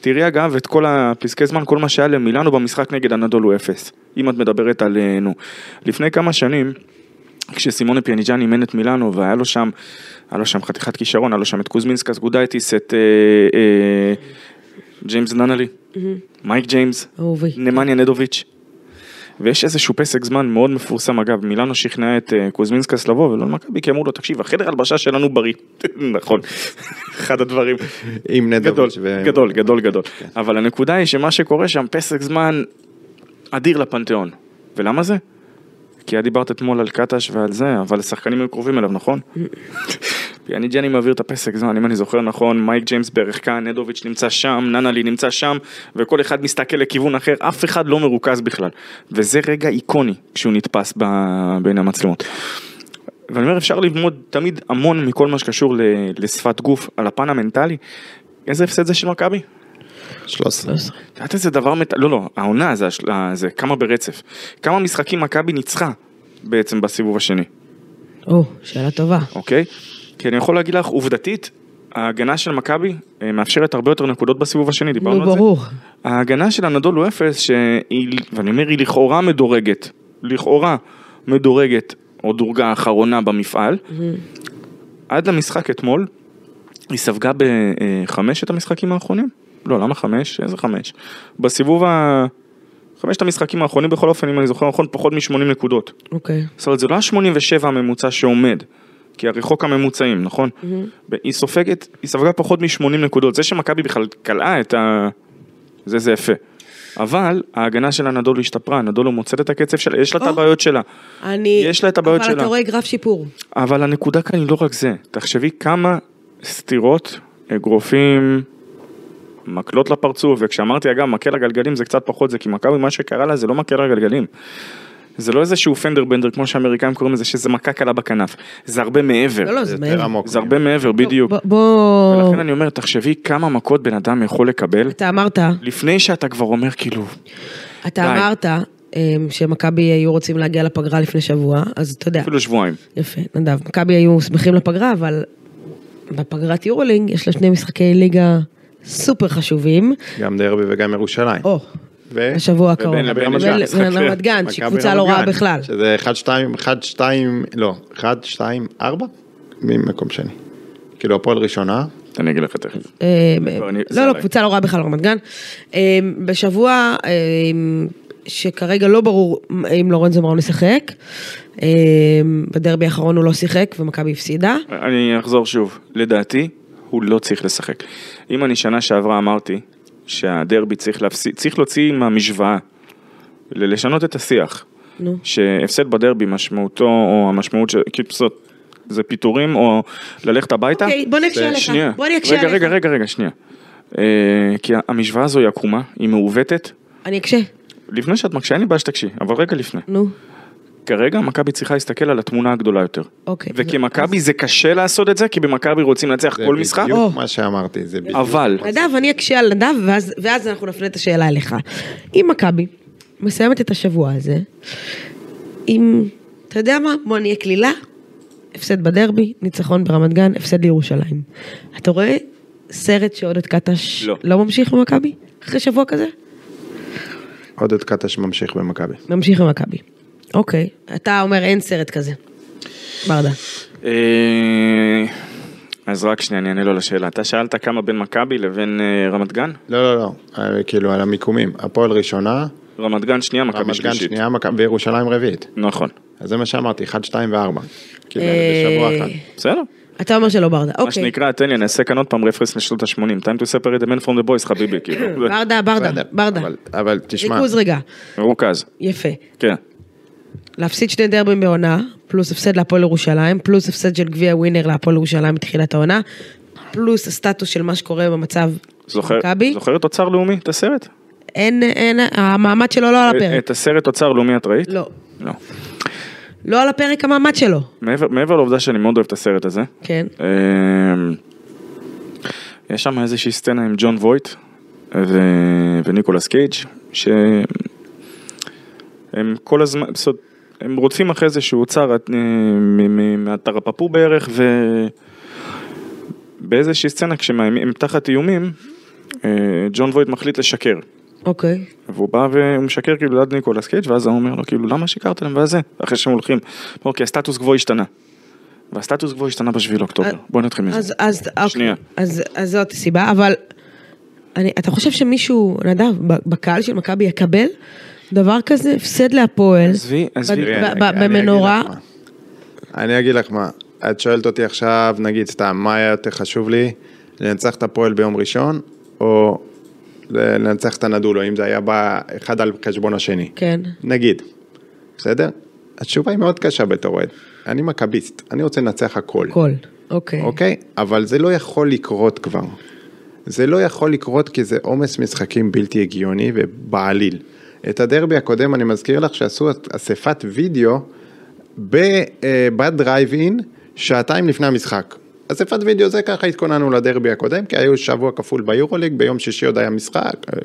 Speaker 3: תראי אגב את כל הפסקי זמן, כל מה שהיה למילאנו במשחק נגד הנדול הוא אפס. אם את מדברת על, אה, נו, לפני כמה שנים, כשסימונה פיאניג'אן אימן את מילאנו והיה לו שם, היה לו שם חתיכת כישרון, היה לו שם את קוזמינסקס גודייטיס, את אה, אה, ג'יימס ננלי, מייק ג'יימס,
Speaker 2: אהובי.
Speaker 3: נמניה נדוביץ'. ויש איזשהו פסק זמן מאוד מפורסם, אגב, מילאנו שכנע את אה, קוזמינסקס לבוא ולא למכבי, כי אמרו לו, תקשיב, החדר הלבשה שלנו בריא. נכון, אחד הדברים.
Speaker 4: עם
Speaker 3: גדול,
Speaker 4: נדוביץ' ו... כן.
Speaker 3: גדול, גדול, גדול. אבל הנקודה היא שמה שקורה שם, פסק זמן אדיר לפנתיאון. ולמה זה? כי את דיברת אתמול על קטש ועל זה, אבל השחקנים היו קרובים אליו, נכון? פיאניג'ני מעביר את הפסק זמן, אם אני זוכר נכון, מייק ג'יימס בערכה, נדוביץ' נמצא שם, ננלי נמצא שם, וכל אחד מסתכל לכיוון אחר, אף אחד לא מרוכז בכלל. וזה רגע איקוני כשהוא נתפס ב- בין המצלמות. ואני אומר, אפשר ללמוד תמיד המון מכל מה שקשור ל- לשפת גוף, על הפן המנטלי. איזה הפסד זה של מכבי?
Speaker 4: 13.
Speaker 3: את יודעת איזה דבר מט... לא, לא, העונה זה, השל- ה- זה כמה ברצף. כמה משחקים מכבי ניצחה בעצם בסיבוב השני,
Speaker 2: או, שאלה טובה.
Speaker 3: אוקיי? כי אני יכול להגיד לך, עובדתית, ההגנה של מכבי אה, מאפשרת הרבה יותר נקודות בסיבוב השני, דיברנו
Speaker 2: נו,
Speaker 3: על זה.
Speaker 2: לא, ברור.
Speaker 3: ההגנה של הנדולו אפס, שהיא, ואני אומר, היא לכאורה מדורגת, לכאורה מדורגת, או דורגה האחרונה במפעל, עד למשחק אתמול, היא ספגה בחמשת המשחקים האחרונים? לא, למה חמש? איזה חמש? בסיבוב ה... חמשת המשחקים האחרונים בכל אופן, אם אני זוכר נכון, פחות מ-80 נקודות.
Speaker 2: אוקיי.
Speaker 3: זאת אומרת, זה לא ה-87 הממוצע שעומד, כי הרי חוק הממוצעים, נכון? היא סופגת, היא ספגה פחות מ-80 נקודות. זה שמכבי בכלל קלעה את ה... זה, זה יפה. אבל ההגנה של הנדולו השתפרה, הנדולו מוצאת את הקצב שלה, יש לה את
Speaker 2: או.
Speaker 3: הבעיות שלה.
Speaker 2: אני...
Speaker 3: יש לה את הבעיות
Speaker 2: אבל
Speaker 3: שלה.
Speaker 2: אתה רואה גרף שיפור.
Speaker 3: אבל הנקודה כאן היא לא רק זה, תחשבי כמה סתירות, אגרופים, מקלות לפרצוף, וכשאמרתי אגב מקל הגלגלים זה קצת פחות זה, כי מכבי מה שקרה לה זה לא מקל הגלגלים. זה לא איזשהו פנדר בנדר כמו שהאמריקאים קוראים לזה, שזה מכה קלה בכנף, זה הרבה מעבר,
Speaker 2: לא, לא,
Speaker 4: זה
Speaker 2: זה
Speaker 4: יותר
Speaker 2: מהר.
Speaker 4: עמוק.
Speaker 3: זה הרבה מעבר, בדיוק.
Speaker 2: בוא- בוא...
Speaker 3: ולכן אני אומר, תחשבי כמה מכות בן אדם יכול לקבל,
Speaker 2: אתה אמרת,
Speaker 3: לפני שאתה כבר אומר כאילו,
Speaker 2: אתה
Speaker 3: די.
Speaker 2: אמרת אמ, שמכבי היו רוצים להגיע לפגרה לפני שבוע, אז אתה יודע,
Speaker 3: אפילו שבועיים.
Speaker 2: יפה, נדב, מכבי היו שמחים לפגרה, אבל בפגרת יורולינג יש לה שני משחקי ליגה סופר חשובים.
Speaker 4: גם דרבי וגם ירושלים.
Speaker 2: או,
Speaker 4: ו-
Speaker 2: בשבוע הקרוב.
Speaker 3: ובין לבין
Speaker 2: ובין
Speaker 3: יש לה משחק
Speaker 2: לבין
Speaker 3: שנייה.
Speaker 2: רמת גן,
Speaker 4: מכבי
Speaker 2: שהיא קבוצה
Speaker 4: רמת
Speaker 2: לא רעה
Speaker 4: גן,
Speaker 2: בכלל.
Speaker 4: שזה 1, 2, 1, 2, לא, 1, 2, 4? ממקום שני. כאילו הפועל ראשונה,
Speaker 3: אני אגיד לך תכף.
Speaker 2: אה,
Speaker 3: לא, אני- זה
Speaker 2: לא, לא,
Speaker 3: עליי.
Speaker 2: קבוצה לא רעה בכלל, רמת גן. אה, בשבוע אה, שכרגע לא ברור אם לורנזו מרון משחק, אה, בדרבי האחרון הוא לא שיחק ומכבי הפסידה.
Speaker 3: אני אחזור שוב, לדעתי, הוא לא צריך לשחק. אם אני שנה שעברה אמרתי שהדרבי צריך, להפסיד, צריך להוציא מהמשוואה, ל- לשנות את השיח,
Speaker 2: נו.
Speaker 3: שהפסד בדרבי משמעותו, או המשמעות של, כאילו, זאת- זה פיטורים, או ללכת הביתה.
Speaker 2: אוקיי, בוא נקשה עליך,
Speaker 3: שנייה,
Speaker 2: בוא אני אקשה
Speaker 3: רגע,
Speaker 2: עליך.
Speaker 3: רגע, רגע, רגע, שנייה. אה, כי המשוואה הזו היא עקומה, היא מעוותת.
Speaker 2: אני אקשה,
Speaker 3: לפני שאת מקשיבה, אין לי בעיה שתקשיבי, אבל רגע לפני.
Speaker 2: נו,
Speaker 3: כרגע מכבי צריכה להסתכל על התמונה הגדולה יותר.
Speaker 2: אוקיי.
Speaker 3: וכמכבי זה קשה לעשות את זה, כי במכבי רוצים לנצח
Speaker 4: זה
Speaker 3: כל משחק, אה.
Speaker 4: בדיוק
Speaker 2: או.
Speaker 4: מה שאמרתי, זה בדיוק.
Speaker 3: אבל
Speaker 2: נדב, אני אקשה על נדב, ואז, ואז אנחנו נפנה את השאלה אליך. אם מכבי מסיימת את השבוע הזה, עם, אתה יודע מה, בוא נהיה קלילה, הפסד בדרבי, ניצחון ברמת גן, הפסד לירושלים. אתה רואה סרט שעודד קטש
Speaker 3: לא.
Speaker 2: לא ממשיך במכבי? אחרי שבוע כזה?
Speaker 4: עודד קטש ממשיך במכבי.
Speaker 2: ממשיך במכבי. אוקיי, אתה אומר אין סרט כזה. ברדה.
Speaker 3: אה, אז רק שנייה, אני אענה לו לשאלה. אתה שאלת כמה בין מכבי לבין אה, רמת גן?
Speaker 4: לא, לא, לא, אה, כאילו על המיקומים. הפועל ראשונה,
Speaker 3: רמת גן שנייה, מכבי
Speaker 4: רמת גן
Speaker 3: שלישית.
Speaker 4: שנייה, מכבי- וירושלים רביעית.
Speaker 3: נכון.
Speaker 4: אז זה מה שאמרתי, 1, 2 ו-4. כאילו,
Speaker 2: אה,
Speaker 4: בשבוע אחד.
Speaker 3: בסדר.
Speaker 2: אתה אומר שלא ברדה,
Speaker 3: מה
Speaker 2: אוקיי.
Speaker 3: שנקרא, תן לי, אני אעשה כאן עוד פעם רפרנס לשנות ה-80. time to separate the man from the boys, חביבי, כאילו. זה-
Speaker 2: ברדה, ברדה,
Speaker 4: בסדר,
Speaker 2: ברדה.
Speaker 4: אבל- אבל תשמע,
Speaker 2: ריכוז רגע.
Speaker 3: מרוכז.
Speaker 2: יפה.
Speaker 3: כן.
Speaker 2: להפסיד שני דרבים בעונה, פלוס הפסד להפועל ירושלים, פלוס הפסד של גביע ווינר להפועל ירושלים מתחילת העונה, פלוס הסטטוס של מה שקורה במצב
Speaker 3: זוכר-
Speaker 2: מכבי.
Speaker 3: זוכרת אוצר לאומי? את הסרט?
Speaker 2: אין, אין, המעמד שלו לא על
Speaker 3: את-
Speaker 2: הפרק.
Speaker 3: את הסרט אוצר לאומי את ראית?
Speaker 2: לא.
Speaker 3: לא.
Speaker 2: לא על הפרק המעמד שלו.
Speaker 3: מעבר מעבר לעובדה שאני מאוד אוהב את הסרט הזה,
Speaker 2: כן.
Speaker 3: אמ, יש שם איזושהי סצנה עם ג'ון וויט ו... וניקולס קייג' שהם כל הזמן, בסוד, הם רודפים אחרי איזשהו אוצר אה, מ- מ- מהטרפפו בערך ובאיזושהי סצנה כשהם הם תחת איומים אה, ג'ון וויט מחליט לשקר.
Speaker 2: אוקיי.
Speaker 3: והוא בא והוא משקר כאילו ליד ניקולס קייג' ואז הוא אומר לו כאילו למה שיקרת להם ואז זה אחרי שהם הולכים. הוא אומר, כי הסטטוס קוו השתנה. והסטטוס קוו השתנה בשביל אוקטובר. בוא נתחיל מזה.
Speaker 2: אה, אז, אז, אוקיי.
Speaker 3: שנייה.
Speaker 2: אז, אז זאת הסיבה, אבל אני, אתה חושב שמישהו, נדב, ב- בקהל של מכבי יקבל דבר כזה? הפסד להפועל.
Speaker 3: עזבי, עזבי.
Speaker 2: ב-
Speaker 4: תראי,
Speaker 2: ב-
Speaker 4: אני-
Speaker 2: ב-
Speaker 4: אני אגיד
Speaker 2: במנורה.
Speaker 4: לך מה. אני אגיד לך מה, את שואלת אותי עכשיו, נגיד סתם, מה היה יותר חשוב לי, לנצח את הפועל ביום ראשון, או לנצח את הנדולו, אם זה היה בא אחד על חשבון השני.
Speaker 2: כן.
Speaker 4: נגיד, בסדר? התשובה היא מאוד קשה בתור אוהד. אני מכביסט, אני רוצה לנצח הכל.
Speaker 2: הכל. אוקיי.
Speaker 4: אוקיי? אבל זה לא יכול לקרות כבר. זה לא יכול לקרות כי זה עומס משחקים בלתי הגיוני ובעליל. את הדרבי הקודם, אני מזכיר לך שעשו אספת וידאו בדרייב אין, אה, שעתיים לפני המשחק. אספת וידאו זה ככה התכוננו לדרבי הקודם, כי היו שבוע כפול ביורוליג, ביום שישי עוד היה משחק, אה,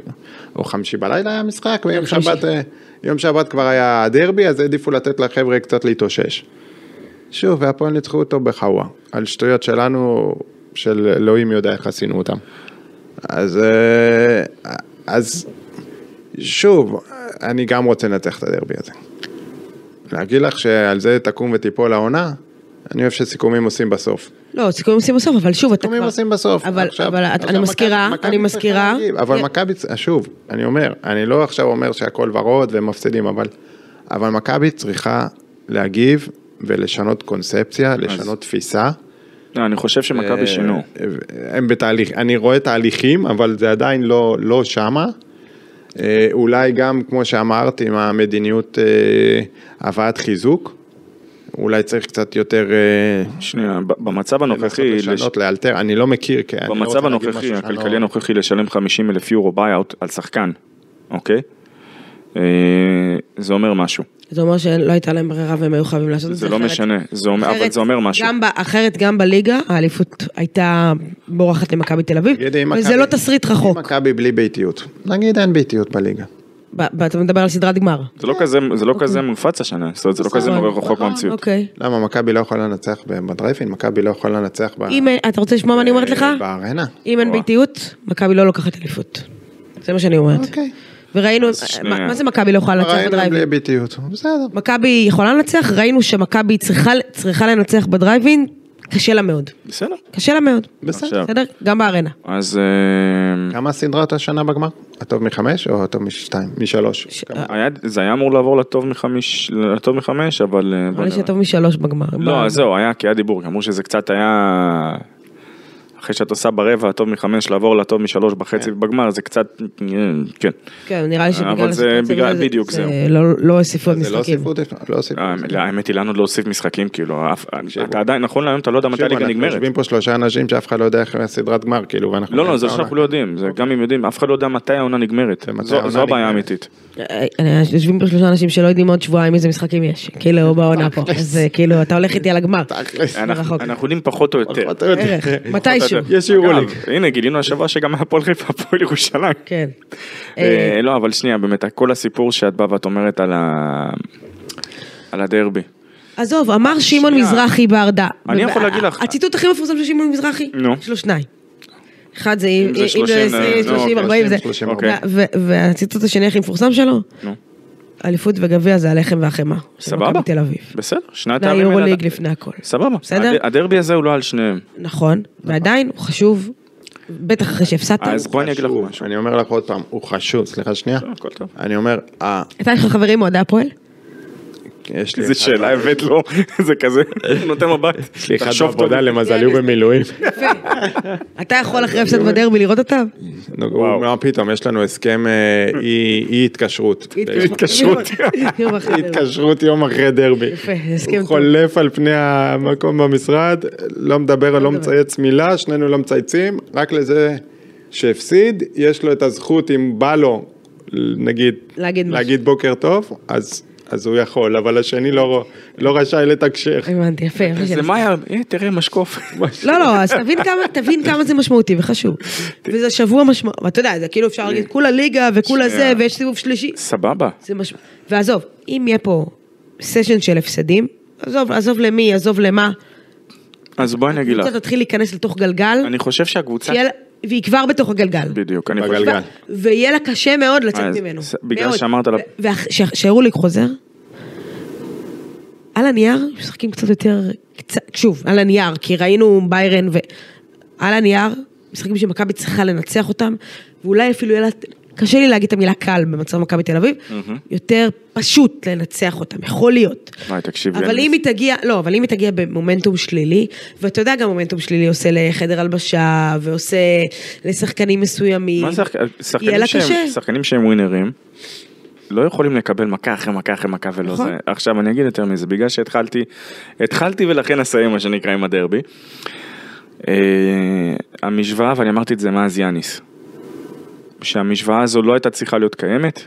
Speaker 4: או חמישי בלילה היה משחק, ויום
Speaker 2: חמישי.
Speaker 4: שבת, אה, יום שבת כבר היה הדרבי, אז העדיפו לתת לחבר'ה קצת להתאושש. שוב, והפועל ניצחו אותו בחאווה, על שטויות שלנו, של אלוהים יודע איך עשינו אותם. אז, אה, אז שוב, אני גם רוצה לנצח את הדרבי הזה. להגיד לך שעל זה תקום ותיפול העונה? אני אוהב שסיכומים עושים בסוף.
Speaker 2: לא, סיכומים עושים בסוף, אבל שוב, אתה כבר...
Speaker 4: סיכומים עושים בסוף.
Speaker 2: אבל,
Speaker 4: עכשיו-
Speaker 2: אבל את-
Speaker 4: עכשיו
Speaker 2: אני
Speaker 4: מכבי-
Speaker 2: מזכירה,
Speaker 4: מכבי
Speaker 2: אני
Speaker 4: צריכה
Speaker 2: מזכירה...
Speaker 4: להגיב, אבל
Speaker 2: י-
Speaker 4: מכבי, צ- שוב, אני אומר, אני לא עכשיו אומר שהכל ורוד ומפסידים, אבל, אבל מכבי צריכה להגיב ולשנות קונספציה, לשנות תפיסה.
Speaker 3: לא, אני חושב שמכבי שינו.
Speaker 4: אה, הם בתהליך, אני רואה תהליכים, אבל זה עדיין לא, לא שמה. אה, אולי גם, כמו שאמרת, עם המדיניות אה, הבאת חיזוק. אולי צריך קצת יותר אה,
Speaker 3: שנייה, ב- במצב
Speaker 4: לנסות
Speaker 3: הנוכחי, לש-
Speaker 4: לא לשנות, לאלתר, אני לא מכיר, כי אני לא רוצה
Speaker 3: במצב
Speaker 4: להגיד
Speaker 3: הנוכחי,
Speaker 4: משהו שאני
Speaker 3: הכלכלי
Speaker 4: לא-
Speaker 3: הנוכחי, לשלם 50 אלף יורו ביי-אוט על שחקן, אוקיי? אה, זה אומר משהו.
Speaker 2: זה אומר שלא הייתה להם ברירה והם היו חייבים לעשות את זה
Speaker 3: זה לא
Speaker 2: אחרת.
Speaker 3: משנה, זה אומר- אבל
Speaker 2: אחרת
Speaker 3: זה אומר משהו.
Speaker 2: גם ב- אחרת גם בליגה, האליפות הייתה בורחת למכבי תל אביב,
Speaker 4: תגידי, אם
Speaker 2: אבל זה
Speaker 4: מכבי-
Speaker 2: לא תסריט
Speaker 4: אם
Speaker 2: רחוק.
Speaker 4: מכבי בלי ביתיות, נגיד אין ביתיות בליגה.
Speaker 2: ב- ב- אתה מדבר על סדרת גמר.
Speaker 3: זה לא כזה- זה לא כזה מופץ השנה, זאת אומרת, זה לא כזה
Speaker 2: אוקיי. נכון,
Speaker 3: נורא רחוק מהמציאות.
Speaker 2: אוקיי.
Speaker 4: למה, מכבי לא יכולה לנצח בדרייפין? מכבי לא יכולה לנצח ב-
Speaker 2: אם אתה רוצה לשמוע מה אני אומרת
Speaker 4: אה,
Speaker 2: לך?
Speaker 4: בארנה?
Speaker 2: אם אין
Speaker 3: וואו.
Speaker 2: ביתיות, מכבי לא לוקחת אליפות. זה מה שאני אומרת.
Speaker 4: אוקיי.
Speaker 2: וראינו,
Speaker 3: שנייה.
Speaker 2: מה מה זה מכבי לא יכולה לנצח
Speaker 4: בארנה
Speaker 2: בדרייבין?
Speaker 4: בלי ביתיות, בסדר.
Speaker 2: מכבי יכולה לנצח, ראינו שמכבי צריכה, צריכה לנצח בדרייבין, קשה לה מאוד.
Speaker 3: בסדר.
Speaker 2: קשה לה מאוד.
Speaker 4: בסדר.
Speaker 3: עכשיו.
Speaker 2: בסדר? גם בארנה.
Speaker 3: אז אה,
Speaker 4: כמה הסדרות השנה בגמר? הטוב מחמש או הטוב משתיים? משלוש.
Speaker 2: ש-
Speaker 4: כמה?
Speaker 3: היה- זה היה אמור לעבור לטוב מחמיש, לטוב מחמש, אבל... אה, בוא
Speaker 2: אבל יש
Speaker 3: נראה.
Speaker 2: יותר משלוש בגמר.
Speaker 3: לא,
Speaker 2: ב-
Speaker 3: אז זהו, היה, כי היה דיבור, אמרו שזה קצת היה... אחרי שאת עושה ברבע, הטוב מחמש, לעבור לטוב משלוש וחצי בגמר, זה קצת... כן.
Speaker 2: כן, נראה לי שבגלל...
Speaker 3: אבל זה
Speaker 2: הסיטואציה
Speaker 3: בגלל-
Speaker 2: הזאת,
Speaker 3: בדיוק, זהו.
Speaker 2: לא- לא הוסיפו עוד
Speaker 4: זה לא
Speaker 2: משחקים.
Speaker 4: הוסיפו, לא הוסיפו.
Speaker 3: לא, האמת היא, לנו עוד לא הוסיף משחקים, כאילו, אף- אתה עדיין, נכון להיום, אתה לא יודע מתי
Speaker 4: שוב,
Speaker 3: הליגה
Speaker 4: אנחנו
Speaker 3: נגמרת.
Speaker 4: יושבים פה שלושה אנשים שאף אחד לא יודע איך הסדרת גמר, כאילו, ואנחנו...
Speaker 3: לא, לא, זה שאנחנו לא יודעים, זה גם אם יודעים, אף אחד לא יודע מתי העונה נגמרת.
Speaker 4: אוקיי. ומתי
Speaker 3: זו-
Speaker 4: העונה
Speaker 3: זו הבעיה
Speaker 4: נגמרת.
Speaker 3: האמיתית.
Speaker 2: אה, אה, יושבים פה שלושה אנשים שלא יודעים עוד שבועיים איזה משחקים יש. כאילו, בעונה פה. אז כאילו, אתה הולך איתי על הגמר.
Speaker 4: תכלס.
Speaker 2: זה
Speaker 3: אנחנו
Speaker 2: רחוק.
Speaker 3: אנחנו לא יודעים פחות או יותר.
Speaker 4: אתה יודע.
Speaker 2: בערך, מתישהו.
Speaker 4: יש יורוליג.
Speaker 3: אגב, הנה, גילינו השבוע שגם הפועל חיפה הפועל ירושלים.
Speaker 2: כן.
Speaker 3: אה, לא, אבל שנייה, באמת, כל הסיפור שאת באה ואת אומרת על ה... על הדרבי.
Speaker 2: עזוב, אמר שמעון
Speaker 3: שנייה.
Speaker 2: מזרחי בהרדע.
Speaker 3: אני
Speaker 2: ובא-
Speaker 3: יכול להגיד לך-
Speaker 2: הציטוט הכי מפורסם של שמעון מזרחי,
Speaker 3: נו.
Speaker 2: יש לו שניים. אחד זה אה, אם
Speaker 3: זה
Speaker 2: אם
Speaker 3: 30,
Speaker 2: זה
Speaker 3: נו,
Speaker 4: לא,
Speaker 2: 30,
Speaker 3: אוקיי,
Speaker 2: 40, זה...
Speaker 4: 30,
Speaker 2: וה-
Speaker 3: אוקיי.
Speaker 2: וה- והציטוט השני הכי מפורסם שלו,
Speaker 3: נו.
Speaker 2: אליפות וגביע זה הלחם והחמאה. של
Speaker 3: סבבה.
Speaker 2: מכבי תל אביב.
Speaker 3: בסדר, שנת
Speaker 2: לפני היורוליג, לפני הכל.
Speaker 3: סבבה.
Speaker 2: בסדר?
Speaker 3: הד- הדרבי הזה הוא לא על שניהם.
Speaker 2: נכון, ועדיין הוא חשוב, בטח אחרי שהפסדת.
Speaker 3: אז בואי אני אגיד לך
Speaker 4: שוב,
Speaker 3: משהו.
Speaker 4: אני אומר לך עוד פעם, הוא חשוב, סליחה שנייה.
Speaker 3: הכל טוב.
Speaker 4: אני אומר, אה,
Speaker 2: אתה יש לך חברים מאוהדי הפועל?
Speaker 4: יש לי
Speaker 3: איזה
Speaker 4: אחד-
Speaker 3: שאלה הבאת לו, זה כזה, נותן מבט.
Speaker 4: יש לי אחד
Speaker 3: תחשוב טוב.
Speaker 4: בעבודה למזלי הוא במילואים.
Speaker 2: יפה. אתה יכול אחרי הפסד בדרבי לראות אותם?
Speaker 4: נו, הוא- מה פתאום, יש לנו הסכם אה, אי אי התקשרות.
Speaker 3: התקשרות.
Speaker 2: יום אחרי דרבי.
Speaker 4: התקשרות יום אחרי דרבי.
Speaker 2: יפה, הסכם
Speaker 4: הוא
Speaker 2: טוב.
Speaker 4: חולף על פני המקום במשרד, לא מדבר, לא מצייץ מילה, שנינו לא מצייצים, רק לזה שהפסיד, יש לו את הזכות, אם בא לו, נגיד,
Speaker 2: להגיד משהו.
Speaker 4: להגיד בוקר טוב, אז... אז הוא יכול, אבל השני לא, לא רשאי לתקשר.
Speaker 2: הבנתי, יפה. יפה
Speaker 3: אז
Speaker 2: שנעשה.
Speaker 3: למה היה, אה, תראה משקוף.
Speaker 2: לא, לא, אז תבין כמה, תבין כמה זה משמעותי וחשוב.
Speaker 3: כן.
Speaker 2: וזה שבוע משמעותי, ואתה יודע, זה כאילו אפשר להגיד, כולה ליגה וכולה זה,
Speaker 3: שנייה.
Speaker 2: ויש סיבוב שלישי.
Speaker 3: סבבה.
Speaker 2: זה משמע... ועזוב, אם יהיה פה סשן של הפסדים, עזוב, עזוב למי, עזוב למה,
Speaker 3: אז בואי אני אגיד לך.
Speaker 2: קבוצה תתחיל להיכנס לתוך גלגל,
Speaker 3: לא. אני חושב שהקבוצה...
Speaker 2: תהיה לה- והיא כבר בתוך הגלגל.
Speaker 3: בדיוק, אני חושב...
Speaker 4: בגלגל.
Speaker 2: ויהיה לה קשה מאוד לצאת
Speaker 3: אז-
Speaker 2: ממנו.
Speaker 3: ס- בגלל
Speaker 2: מאוד.
Speaker 3: שאמרת עליו-
Speaker 2: וכשהרוליק חוזר, על הנייר משחקים קצת יותר, קצת- שוב, על הנייר, כי ראינו ביירן ו... על הנייר, משחקים שמכבי צריכה לנצח אותם, ואולי אפילו יהיה לה... קשה לי להגיד את המילה קל במצב מכבי תל אביב, יותר פשוט לנצח אותם, יכול להיות.
Speaker 3: וואי, תקשיבי,
Speaker 2: אבל
Speaker 3: אני-
Speaker 2: אם היא תגיע, לא, אבל אם היא תגיע במומנטום שלילי, ואתה יודע גם מומנטום שלילי עושה לחדר הלבשה, ועושה לשחקנים מסוימים.
Speaker 3: מה זה,
Speaker 2: יהיה
Speaker 3: שחקנים
Speaker 2: לה
Speaker 3: שהם-
Speaker 2: קשה.
Speaker 3: שחקנים שהם ווינרים, לא יכולים לקבל מכה אחרי מכה אחרי מכה ולא
Speaker 2: נכון.
Speaker 3: זה. עכשיו אני אגיד יותר מזה, בגלל שהתחלתי, התחלתי ולכן אסיים מה שנקרא עם הדרבי. אה, המשוואה, ואני אמרתי את זה מאז יאניס, שהמשוואה הזו לא הייתה צריכה להיות קיימת,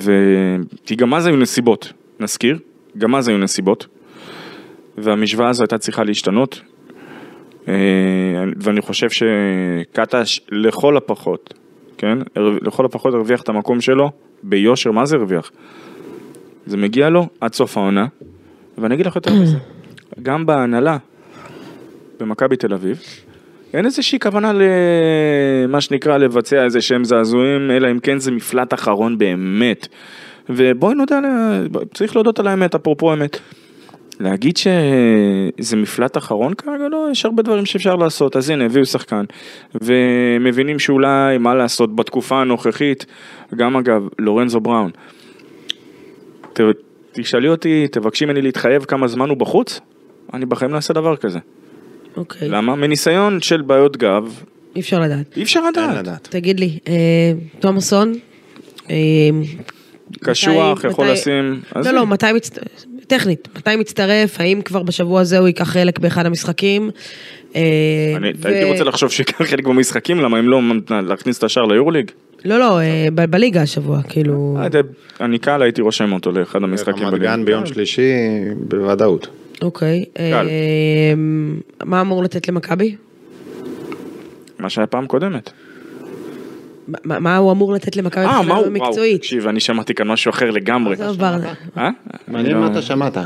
Speaker 3: ו- כי גם אז היו נסיבות, נזכיר, גם אז היו נסיבות, והמשוואה הזו הייתה צריכה להשתנות, אה, ואני חושב שקטש לכל הפחות, כן? הר- לכל הפחות הרוויח את המקום שלו ביושר, מה זה הרוויח? זה מגיע לו עד סוף העונה, ואני אגיד לך יותר מזה, גם בהנהלה במכבי תל אביב, אין איזושהי כוונה למה שנקרא לבצע איזה שהם זעזועים, אלא אם כן זה מפלט אחרון באמת. ובואי נודה, על ה- צריך להודות על האמת, אפרופו אמת. להגיד שזה מפלט אחרון כרגע, לא, יש הרבה דברים שאפשר לעשות, אז הנה, הביאו שחקן, ומבינים שאולי, מה לעשות, בתקופה הנוכחית, גם אגב, לורנזו בראון, ת, תשאלי אותי, תבקשי ממני להתחייב כמה זמן הוא בחוץ, אני בחיים לא אעשה דבר כזה.
Speaker 2: אוקיי.
Speaker 3: למה? מניסיון של בעיות גב,
Speaker 2: אי אפשר לדעת.
Speaker 3: אי אפשר
Speaker 4: אין
Speaker 3: לדעת.
Speaker 4: לדעת.
Speaker 2: תגיד לי, אה, תומסון? אה,
Speaker 3: קשוח,
Speaker 2: מתי-
Speaker 3: יכול
Speaker 2: מתי-
Speaker 3: לשים... אז
Speaker 2: לא,
Speaker 3: הנה.
Speaker 2: לא, מתי מצטרף? טכנית, מתי מצטרף? האם כבר בשבוע הזה הוא ייקח חלק באחד המשחקים? אה,
Speaker 3: אני
Speaker 2: ו-
Speaker 3: הייתי רוצה לחשוב שיקח חלק במשחקים, למה הם לא להכניס את השער ליורליג?
Speaker 2: לא, לא, אה, ב- בליגה השבוע, כאילו...
Speaker 3: אה, זה- אני קל הייתי רושם אותו לאחד המשחקים
Speaker 4: רמת גן ביום שלישי, בוודאות.
Speaker 2: אוקיי.
Speaker 3: קל.
Speaker 2: אה, מה אמור לתת למכבי?
Speaker 3: מה שהיה פעם קודמת.
Speaker 2: אה, מה- מה מה הוא אמור לתת למכבי
Speaker 3: אה,
Speaker 2: מבחינה
Speaker 3: מה הוא? וואו,
Speaker 2: לא מקצועית?
Speaker 3: תקשיב, אני שמעתי כאן משהו אחר לגמרי.
Speaker 2: עזוב, ברדה.
Speaker 3: אה?
Speaker 4: מעניין
Speaker 3: אני
Speaker 4: מה
Speaker 3: לא-
Speaker 4: אתה שמעת.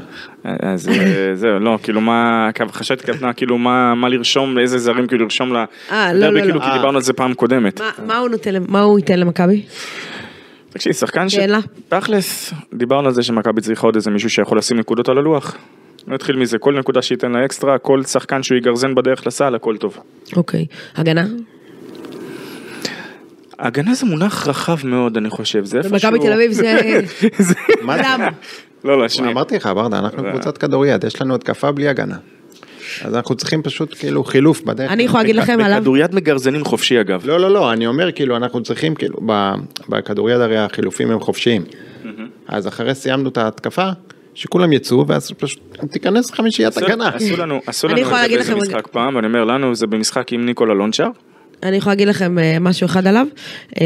Speaker 3: אז אה, זהו, לא, כאילו מה, כאילו, חשבתי כוונה, כאילו מה מה לרשום, איזה זרים כאילו לרשום ל...
Speaker 2: אה, לא,
Speaker 3: דרבי,
Speaker 2: לא, לא.
Speaker 3: כאילו, כי
Speaker 4: אה.
Speaker 3: דיברנו על זה פעם קודמת.
Speaker 2: מה- מה הוא נותן, למ- מה הוא ייתן למכבי?
Speaker 3: תקשיב, שחקן ש...
Speaker 2: כן, לה.
Speaker 3: תכלס, דיברנו על זה שמכבי צריכה עוד איזה מישהו שיכול לשים נקודות על הלוח. נתחיל מזה, כל נקודה שייתן לה אקסטרה, כל שחקן שהוא יגרזן בדרך לסל, הכל טוב.
Speaker 2: אוקיי. הגנה?
Speaker 3: הגנה זה מונח רחב מאוד, אני חושב, זה איפשהו...
Speaker 2: במכבי תל אביב זה...
Speaker 3: זה-
Speaker 4: מה זה?
Speaker 2: למה?
Speaker 3: לא, לא, שנייה.
Speaker 4: אמרתי לך, ברדה, אנחנו קבוצת כדוריד, יש לנו התקפה בלי הגנה. אז אנחנו צריכים פשוט כאילו חילוף בדרך.
Speaker 2: אני יכולה להגיד לכם עליו?
Speaker 3: בכדוריד מגרזנים חופשי אגב.
Speaker 4: לא, לא, לא, אני אומר כאילו, אנחנו צריכים כאילו, ב- בכדוריד הרי החילופים הם חופשיים. אז אחרי סיימנו את ההתקפה, שכולם יצאו, ואז פשוט תיכנס חמישיית
Speaker 3: עשו-
Speaker 4: הגנה.
Speaker 3: עשו לנו, עשו
Speaker 2: אני
Speaker 3: לנו את
Speaker 2: יכולה
Speaker 3: זה
Speaker 2: להגיד
Speaker 3: באיזה
Speaker 2: לכם-
Speaker 3: משחק פעם, ואני אומר לנו, זה במשחק עם ניקולה לונצ'ר.
Speaker 2: אני יכולה להגיד לכם אה, משהו אחד עליו, אה,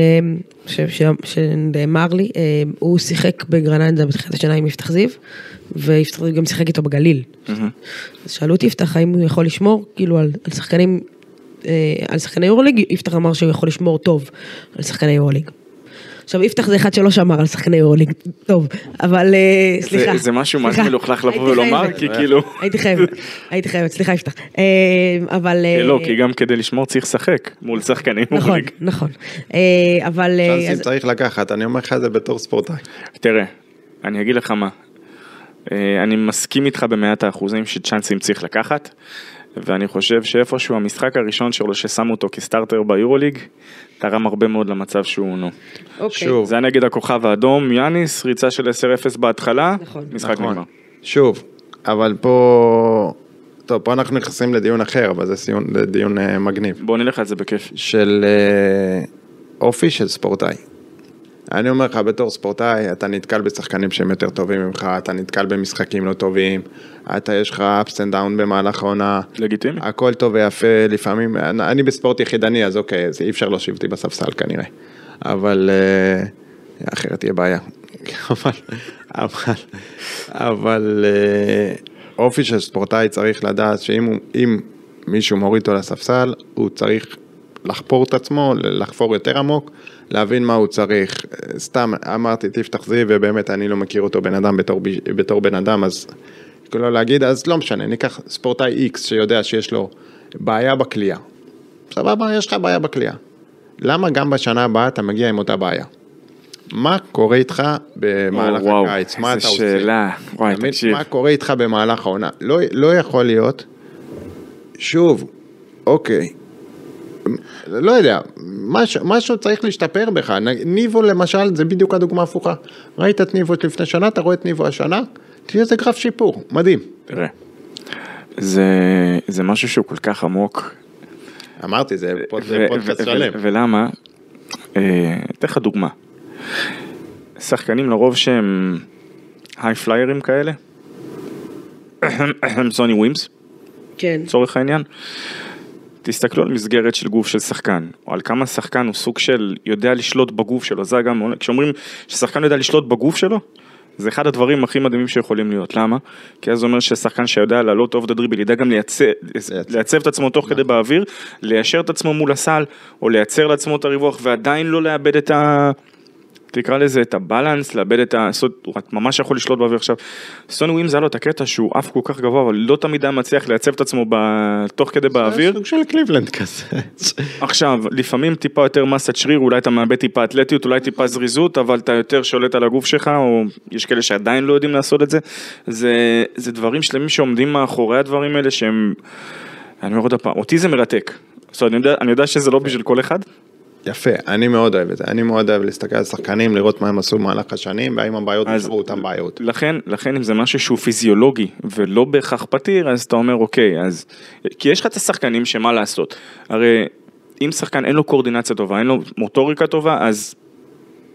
Speaker 2: ש- ש- שנאמר לי, אה, הוא שיחק בגרנדה בתחילת השנה עם יפתח זיו, ויפתח זיו גם שיחק איתו בגליל.
Speaker 3: Mm-hmm.
Speaker 2: אז שאלו אותי יפתח האם הוא יכול לשמור, כאילו על על שחקנים, אה, על שחקני יורוליג, יפתח אמר שהוא יכול לשמור טוב על שחקני יורוליג. עכשיו יפתח זה אחד שלא שמר על שחקני יורוליג, טוב, אבל אה,
Speaker 3: זה-
Speaker 2: סליחה.
Speaker 3: זה משהו מה זה
Speaker 2: סליחה.
Speaker 3: מלוכלך לבוא
Speaker 2: הייתי
Speaker 3: ולומר,
Speaker 2: חייבת.
Speaker 3: כי כאילו...
Speaker 2: הייתי חייבת, הייתי חייבת, סליחה יפתח. אה, אבל... אה,
Speaker 3: לא, כי גם כדי לשמור צריך לשחק מול שחקנים.
Speaker 2: נכון,
Speaker 3: מוליק.
Speaker 2: נכון. אה, אבל... אה,
Speaker 4: צ'אנסים
Speaker 2: אז-
Speaker 4: צריך לקחת, אני אומר לך את זה בתור ספורטאי.
Speaker 3: תראה, אני אגיד לך מה. אה, אני מסכים איתך במאת האחוזים שצ'אנסים צריך לקחת, ואני חושב שאיפשהו המשחק הראשון שלו ששמו אותו כסטארטר ביורוליג, תרם הרבה מאוד למצב שהוא נו.
Speaker 2: אוקיי.
Speaker 4: שוב.
Speaker 3: זה היה נגד הכוכב האדום, יאניס, ריצה של 10-0 בהתחלה,
Speaker 2: נכון.
Speaker 3: משחק נגמר.
Speaker 4: שוב, אבל פה, טוב, פה אנחנו נכנסים לדיון אחר, אבל זה סיון, זה דיון אה, מגניב,
Speaker 3: בוא נלך על זה בכיף.
Speaker 4: של אה, אופי של ספורטאי. אני אומר לך, בתור ספורטאי, אתה נתקל בשחקנים שהם יותר טובים ממך, אתה נתקל במשחקים לא טובים, אתה יש לך ups and down במהלך העונה,
Speaker 3: לגיטימי.
Speaker 4: הכל טוב ויפה, לפעמים, אני אני בספורט יחידני, אז אוקיי, אז אי אפשר להושיב אותי בספסל כנראה, אבל אה, אחרת תהיה בעיה. אבל, אבל, אבל אה, אופי של ספורטאי צריך לדעת שאם הוא- אם מישהו מוריד אותו לספסל, הוא צריך לחפור את עצמו, לחפור יותר עמוק, להבין מה הוא צריך. אה, סתם אמרתי תפתח זיו, ובאמת אני לא מכיר אותו בן אדם בתור, ביש- בתור בן אדם, אז כאילו להגיד, אז לא משנה, ניקח ספורטאי איקס שיודע שיש לו בעיה בכלייה. סבבה, יש לך בעיה בכלייה. למה גם בשנה הבאה אתה מגיע עם אותה בעיה? מה קורה איתך במהלך
Speaker 3: וואו,
Speaker 4: הקיץ? מה אתה
Speaker 3: איזה
Speaker 4: עושה?
Speaker 3: שאלה. וואי,
Speaker 4: תמיד
Speaker 3: תקשיב.
Speaker 4: מה קורה איתך במהלך העונה? לא, לא יכול להיות, שוב, אוקיי, לא יודע, משהו, משהו צריך להשתפר בך. נ- ניבו למשל, זה בדיוק הדוגמה ההפוכה. ראית את ניבו לפני שנה, אתה רואה את ניבו השנה, תראה איזה גרף שיפור, מדהים.
Speaker 3: תראה. זה, זה משהו שהוא כל כך עמוק,
Speaker 4: אמרתי, זה פוד- זה
Speaker 3: ו-
Speaker 4: פודקאסט
Speaker 3: ו- ו-
Speaker 4: שלם.
Speaker 3: ולמה? אה, אתן לך דוגמה. שחקנים לרוב שהם היי פליירים כאלה. סוני ווימס.
Speaker 2: כן.
Speaker 3: לצורך העניין. תסתכלו על מסגרת של גוף של שחקן, או על כמה שחקן הוא סוג של יודע לשלוט בגוף שלו, זה גם, כשאומרים ששחקן יודע לשלוט בגוף שלו, זה אחד הדברים הכי מדהימים שיכולים להיות, למה? כי אז זה אומר ששחקן שיודע לעלות אוף דה דריבל ידע גם לייצב, לייצב את עצמו תוך כדי באוויר, ליישר את עצמו מול הסל, או לייצר לעצמו את הריווח ועדיין לא לאבד את ה... תקרא לזה את הבלנס, לאבד את ה... לעשות- הוא ממש יכול לשלוט באוויר עכשיו. סוני ווימס היה לו את הקטע שהוא עף כל כך גבוה, אבל לא תמיד היה מצליח לייצב את עצמו ב... תוך כדי באוויר.
Speaker 4: סוג של קליבלנד כזה.
Speaker 3: עכשיו, לפעמים טיפה יותר מסת שריר, אולי אתה מאבד טיפה אתלטיות, אולי טיפה זריזות, אבל אתה יותר שולט על הגוף שלך, או יש כאלה שעדיין לא יודעים לעשות את זה. זה, זה דברים שלמים שעומדים מאחורי הדברים האלה שהם... אני אומר עוד פעם, אותי זה מרתק. זאת אומרת, אני יודע, אני יודע שזה לא בשביל כל אחד,
Speaker 4: יפה, אני מאוד אוהב את זה. אני מאוד אוהב להסתכל על שחקנים, לראות מה הם עשו במהלך השנים, והאם הבעיות
Speaker 3: אז-
Speaker 4: נשארו אותן בעיות.
Speaker 3: לכן, לכן אם זה משהו שהוא פיזיולוגי ולא בהכרח פתיר, אז אתה אומר אוקיי, אז... כי יש לך את השחקנים שמה לעשות. הרי אם שחקן אין לו קואורדינציה טובה, אין לו מוטוריקה טובה, אז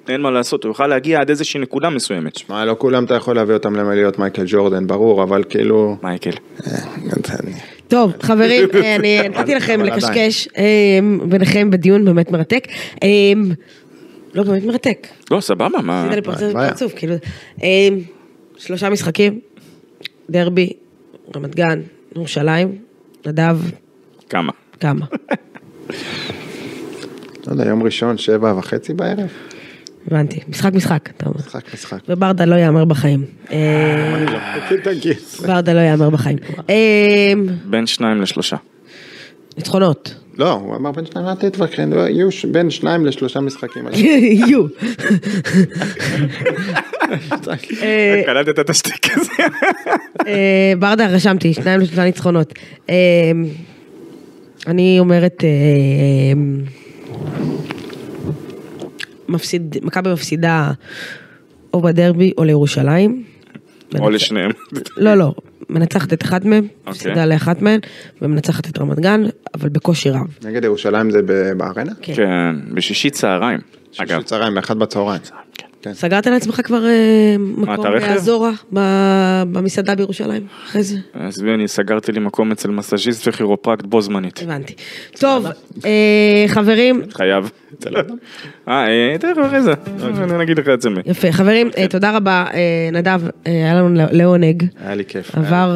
Speaker 3: אין מה לעשות, הוא יוכל להגיע עד איזושהי נקודה מסוימת.
Speaker 4: מה, לא כולם אתה יכול להביא אותם למלהיות מייקל ג'ורדן, ברור, אבל כאילו...
Speaker 3: מייקל.
Speaker 2: טוב, חברים, אה, אני נתתי לכם
Speaker 4: אבל עדיין.
Speaker 2: לקשקש אה, ביניכם בדיון באמת מרתק. אה, לא, באמת מרתק.
Speaker 4: אה,
Speaker 3: לא, סבבה, מה...
Speaker 2: עשית לי פרצוף-
Speaker 4: בעיה.
Speaker 2: פרצוף, כאילו. אה, שלושה משחקים, דרבי, רמת גן, ירושלים, נדב,
Speaker 3: כמה?
Speaker 2: כמה?
Speaker 4: לא יודע, יום ראשון, שבע וחצי בערב?
Speaker 2: הבנתי. משחק משחק, אתה אומר.
Speaker 4: משחק, משחק.
Speaker 2: וברדה לא יאמר בחיים. אה, ברדה לא יאמר בחיים. אה,
Speaker 3: בין שניים לשלושה.
Speaker 2: ניצחונות.
Speaker 4: לא, הוא אמר בין שניים, אל תתווכח, יהיו ש- בין שניים לשלושה משחקים.
Speaker 2: יהיו. אה,
Speaker 3: קלטת את השתיק הזה.
Speaker 2: אה, ברדה, רשמתי, שניים לשלושה ניצחונות. אה, אני אומרת, אה, מפסיד, מכבי מפסידה או בדרבי או לירושלים.
Speaker 3: או לשניהם.
Speaker 2: לא, לא, מנצחת את אחת מהן,
Speaker 3: אוקיי.
Speaker 2: מפסידה לאחת מהן, ומנצחת את רמת גן, אבל בקושי רב.
Speaker 4: נגד ירושלים זה ב- בארנה?
Speaker 3: כן, בשישי צהריים. אגב,
Speaker 4: שישי צהריים, באחת בצהריים. כן.
Speaker 2: סגרת לעצמך כבר אה,
Speaker 3: את
Speaker 2: מקום
Speaker 3: הרכב?
Speaker 2: באזורה, ב- במסעדה בירושלים, אחרי זה?
Speaker 3: עזבי, אני סגרתי לי מקום אצל מסאז'יסט וכירופרקט בו זמנית.
Speaker 2: הבנתי. טוב, אה, חברים,
Speaker 3: חייב. אה, אה, תכף אחרי זה.
Speaker 4: אוקיי.
Speaker 3: אני אגיד לך את זה מי.
Speaker 2: יפה, חברים, אה, תודה רבה, אה, נדב, אה, היה לנו לא- לעונג,
Speaker 4: היה לי כיף.
Speaker 2: עבר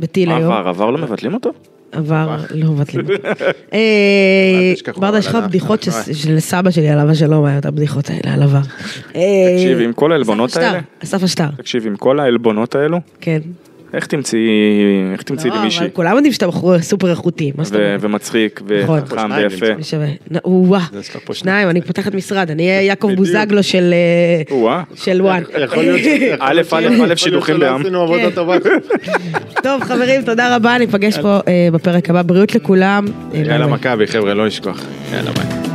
Speaker 2: בטיל היום,
Speaker 3: עבר, עבר לא
Speaker 4: אה.
Speaker 3: מבטלים אותו?
Speaker 2: עבר, לא מבטלים. אה,
Speaker 4: אל תשכחו,
Speaker 2: ברדה, יש לך
Speaker 4: אבל אנחנו-
Speaker 2: בדיחות
Speaker 4: אנחנו-
Speaker 3: לא-
Speaker 2: ש- של סבא שלי עליו השלום, היה את הבדיחות האלה על עבר. אה,
Speaker 3: תקשיב, עם כל העלבונות
Speaker 2: אסף השטר,
Speaker 3: האלה,
Speaker 2: אסף השטר,
Speaker 3: תקשיב, עם כל העלבונות האלו,
Speaker 2: כן.
Speaker 3: איך תמצאי, איך תמצאי
Speaker 2: לא,
Speaker 3: לי
Speaker 2: אבל
Speaker 3: מישהי?
Speaker 2: כולם יודעים שאתה בחור סופר איכותי, מה זאת
Speaker 3: ו-
Speaker 2: אומרת?
Speaker 3: ומצחיק,
Speaker 2: נכון.
Speaker 3: וחכם,
Speaker 4: שניים
Speaker 3: ויפה.
Speaker 2: אני שווה. נ- וואה,
Speaker 4: יש לך פה
Speaker 2: שניים, אני פותחת משרד, אני אהיה יעקב בוזגלו של אה,
Speaker 3: וואה.
Speaker 2: של וואן.
Speaker 4: יכול להיות ש-
Speaker 3: א', א', א', שידוכים
Speaker 4: יכול להיות כן, שלא
Speaker 3: בעם.
Speaker 4: עשינו עבודה
Speaker 2: כן.
Speaker 4: טובה.
Speaker 2: טוב חברים, תודה רבה, ניפגש פה אה, בפרק הבא, בריאות לכולם. אה, ביי
Speaker 4: יאללה
Speaker 2: ביי.
Speaker 4: מכבי, חבר'ה, לא לשכוח. יאללה ביי.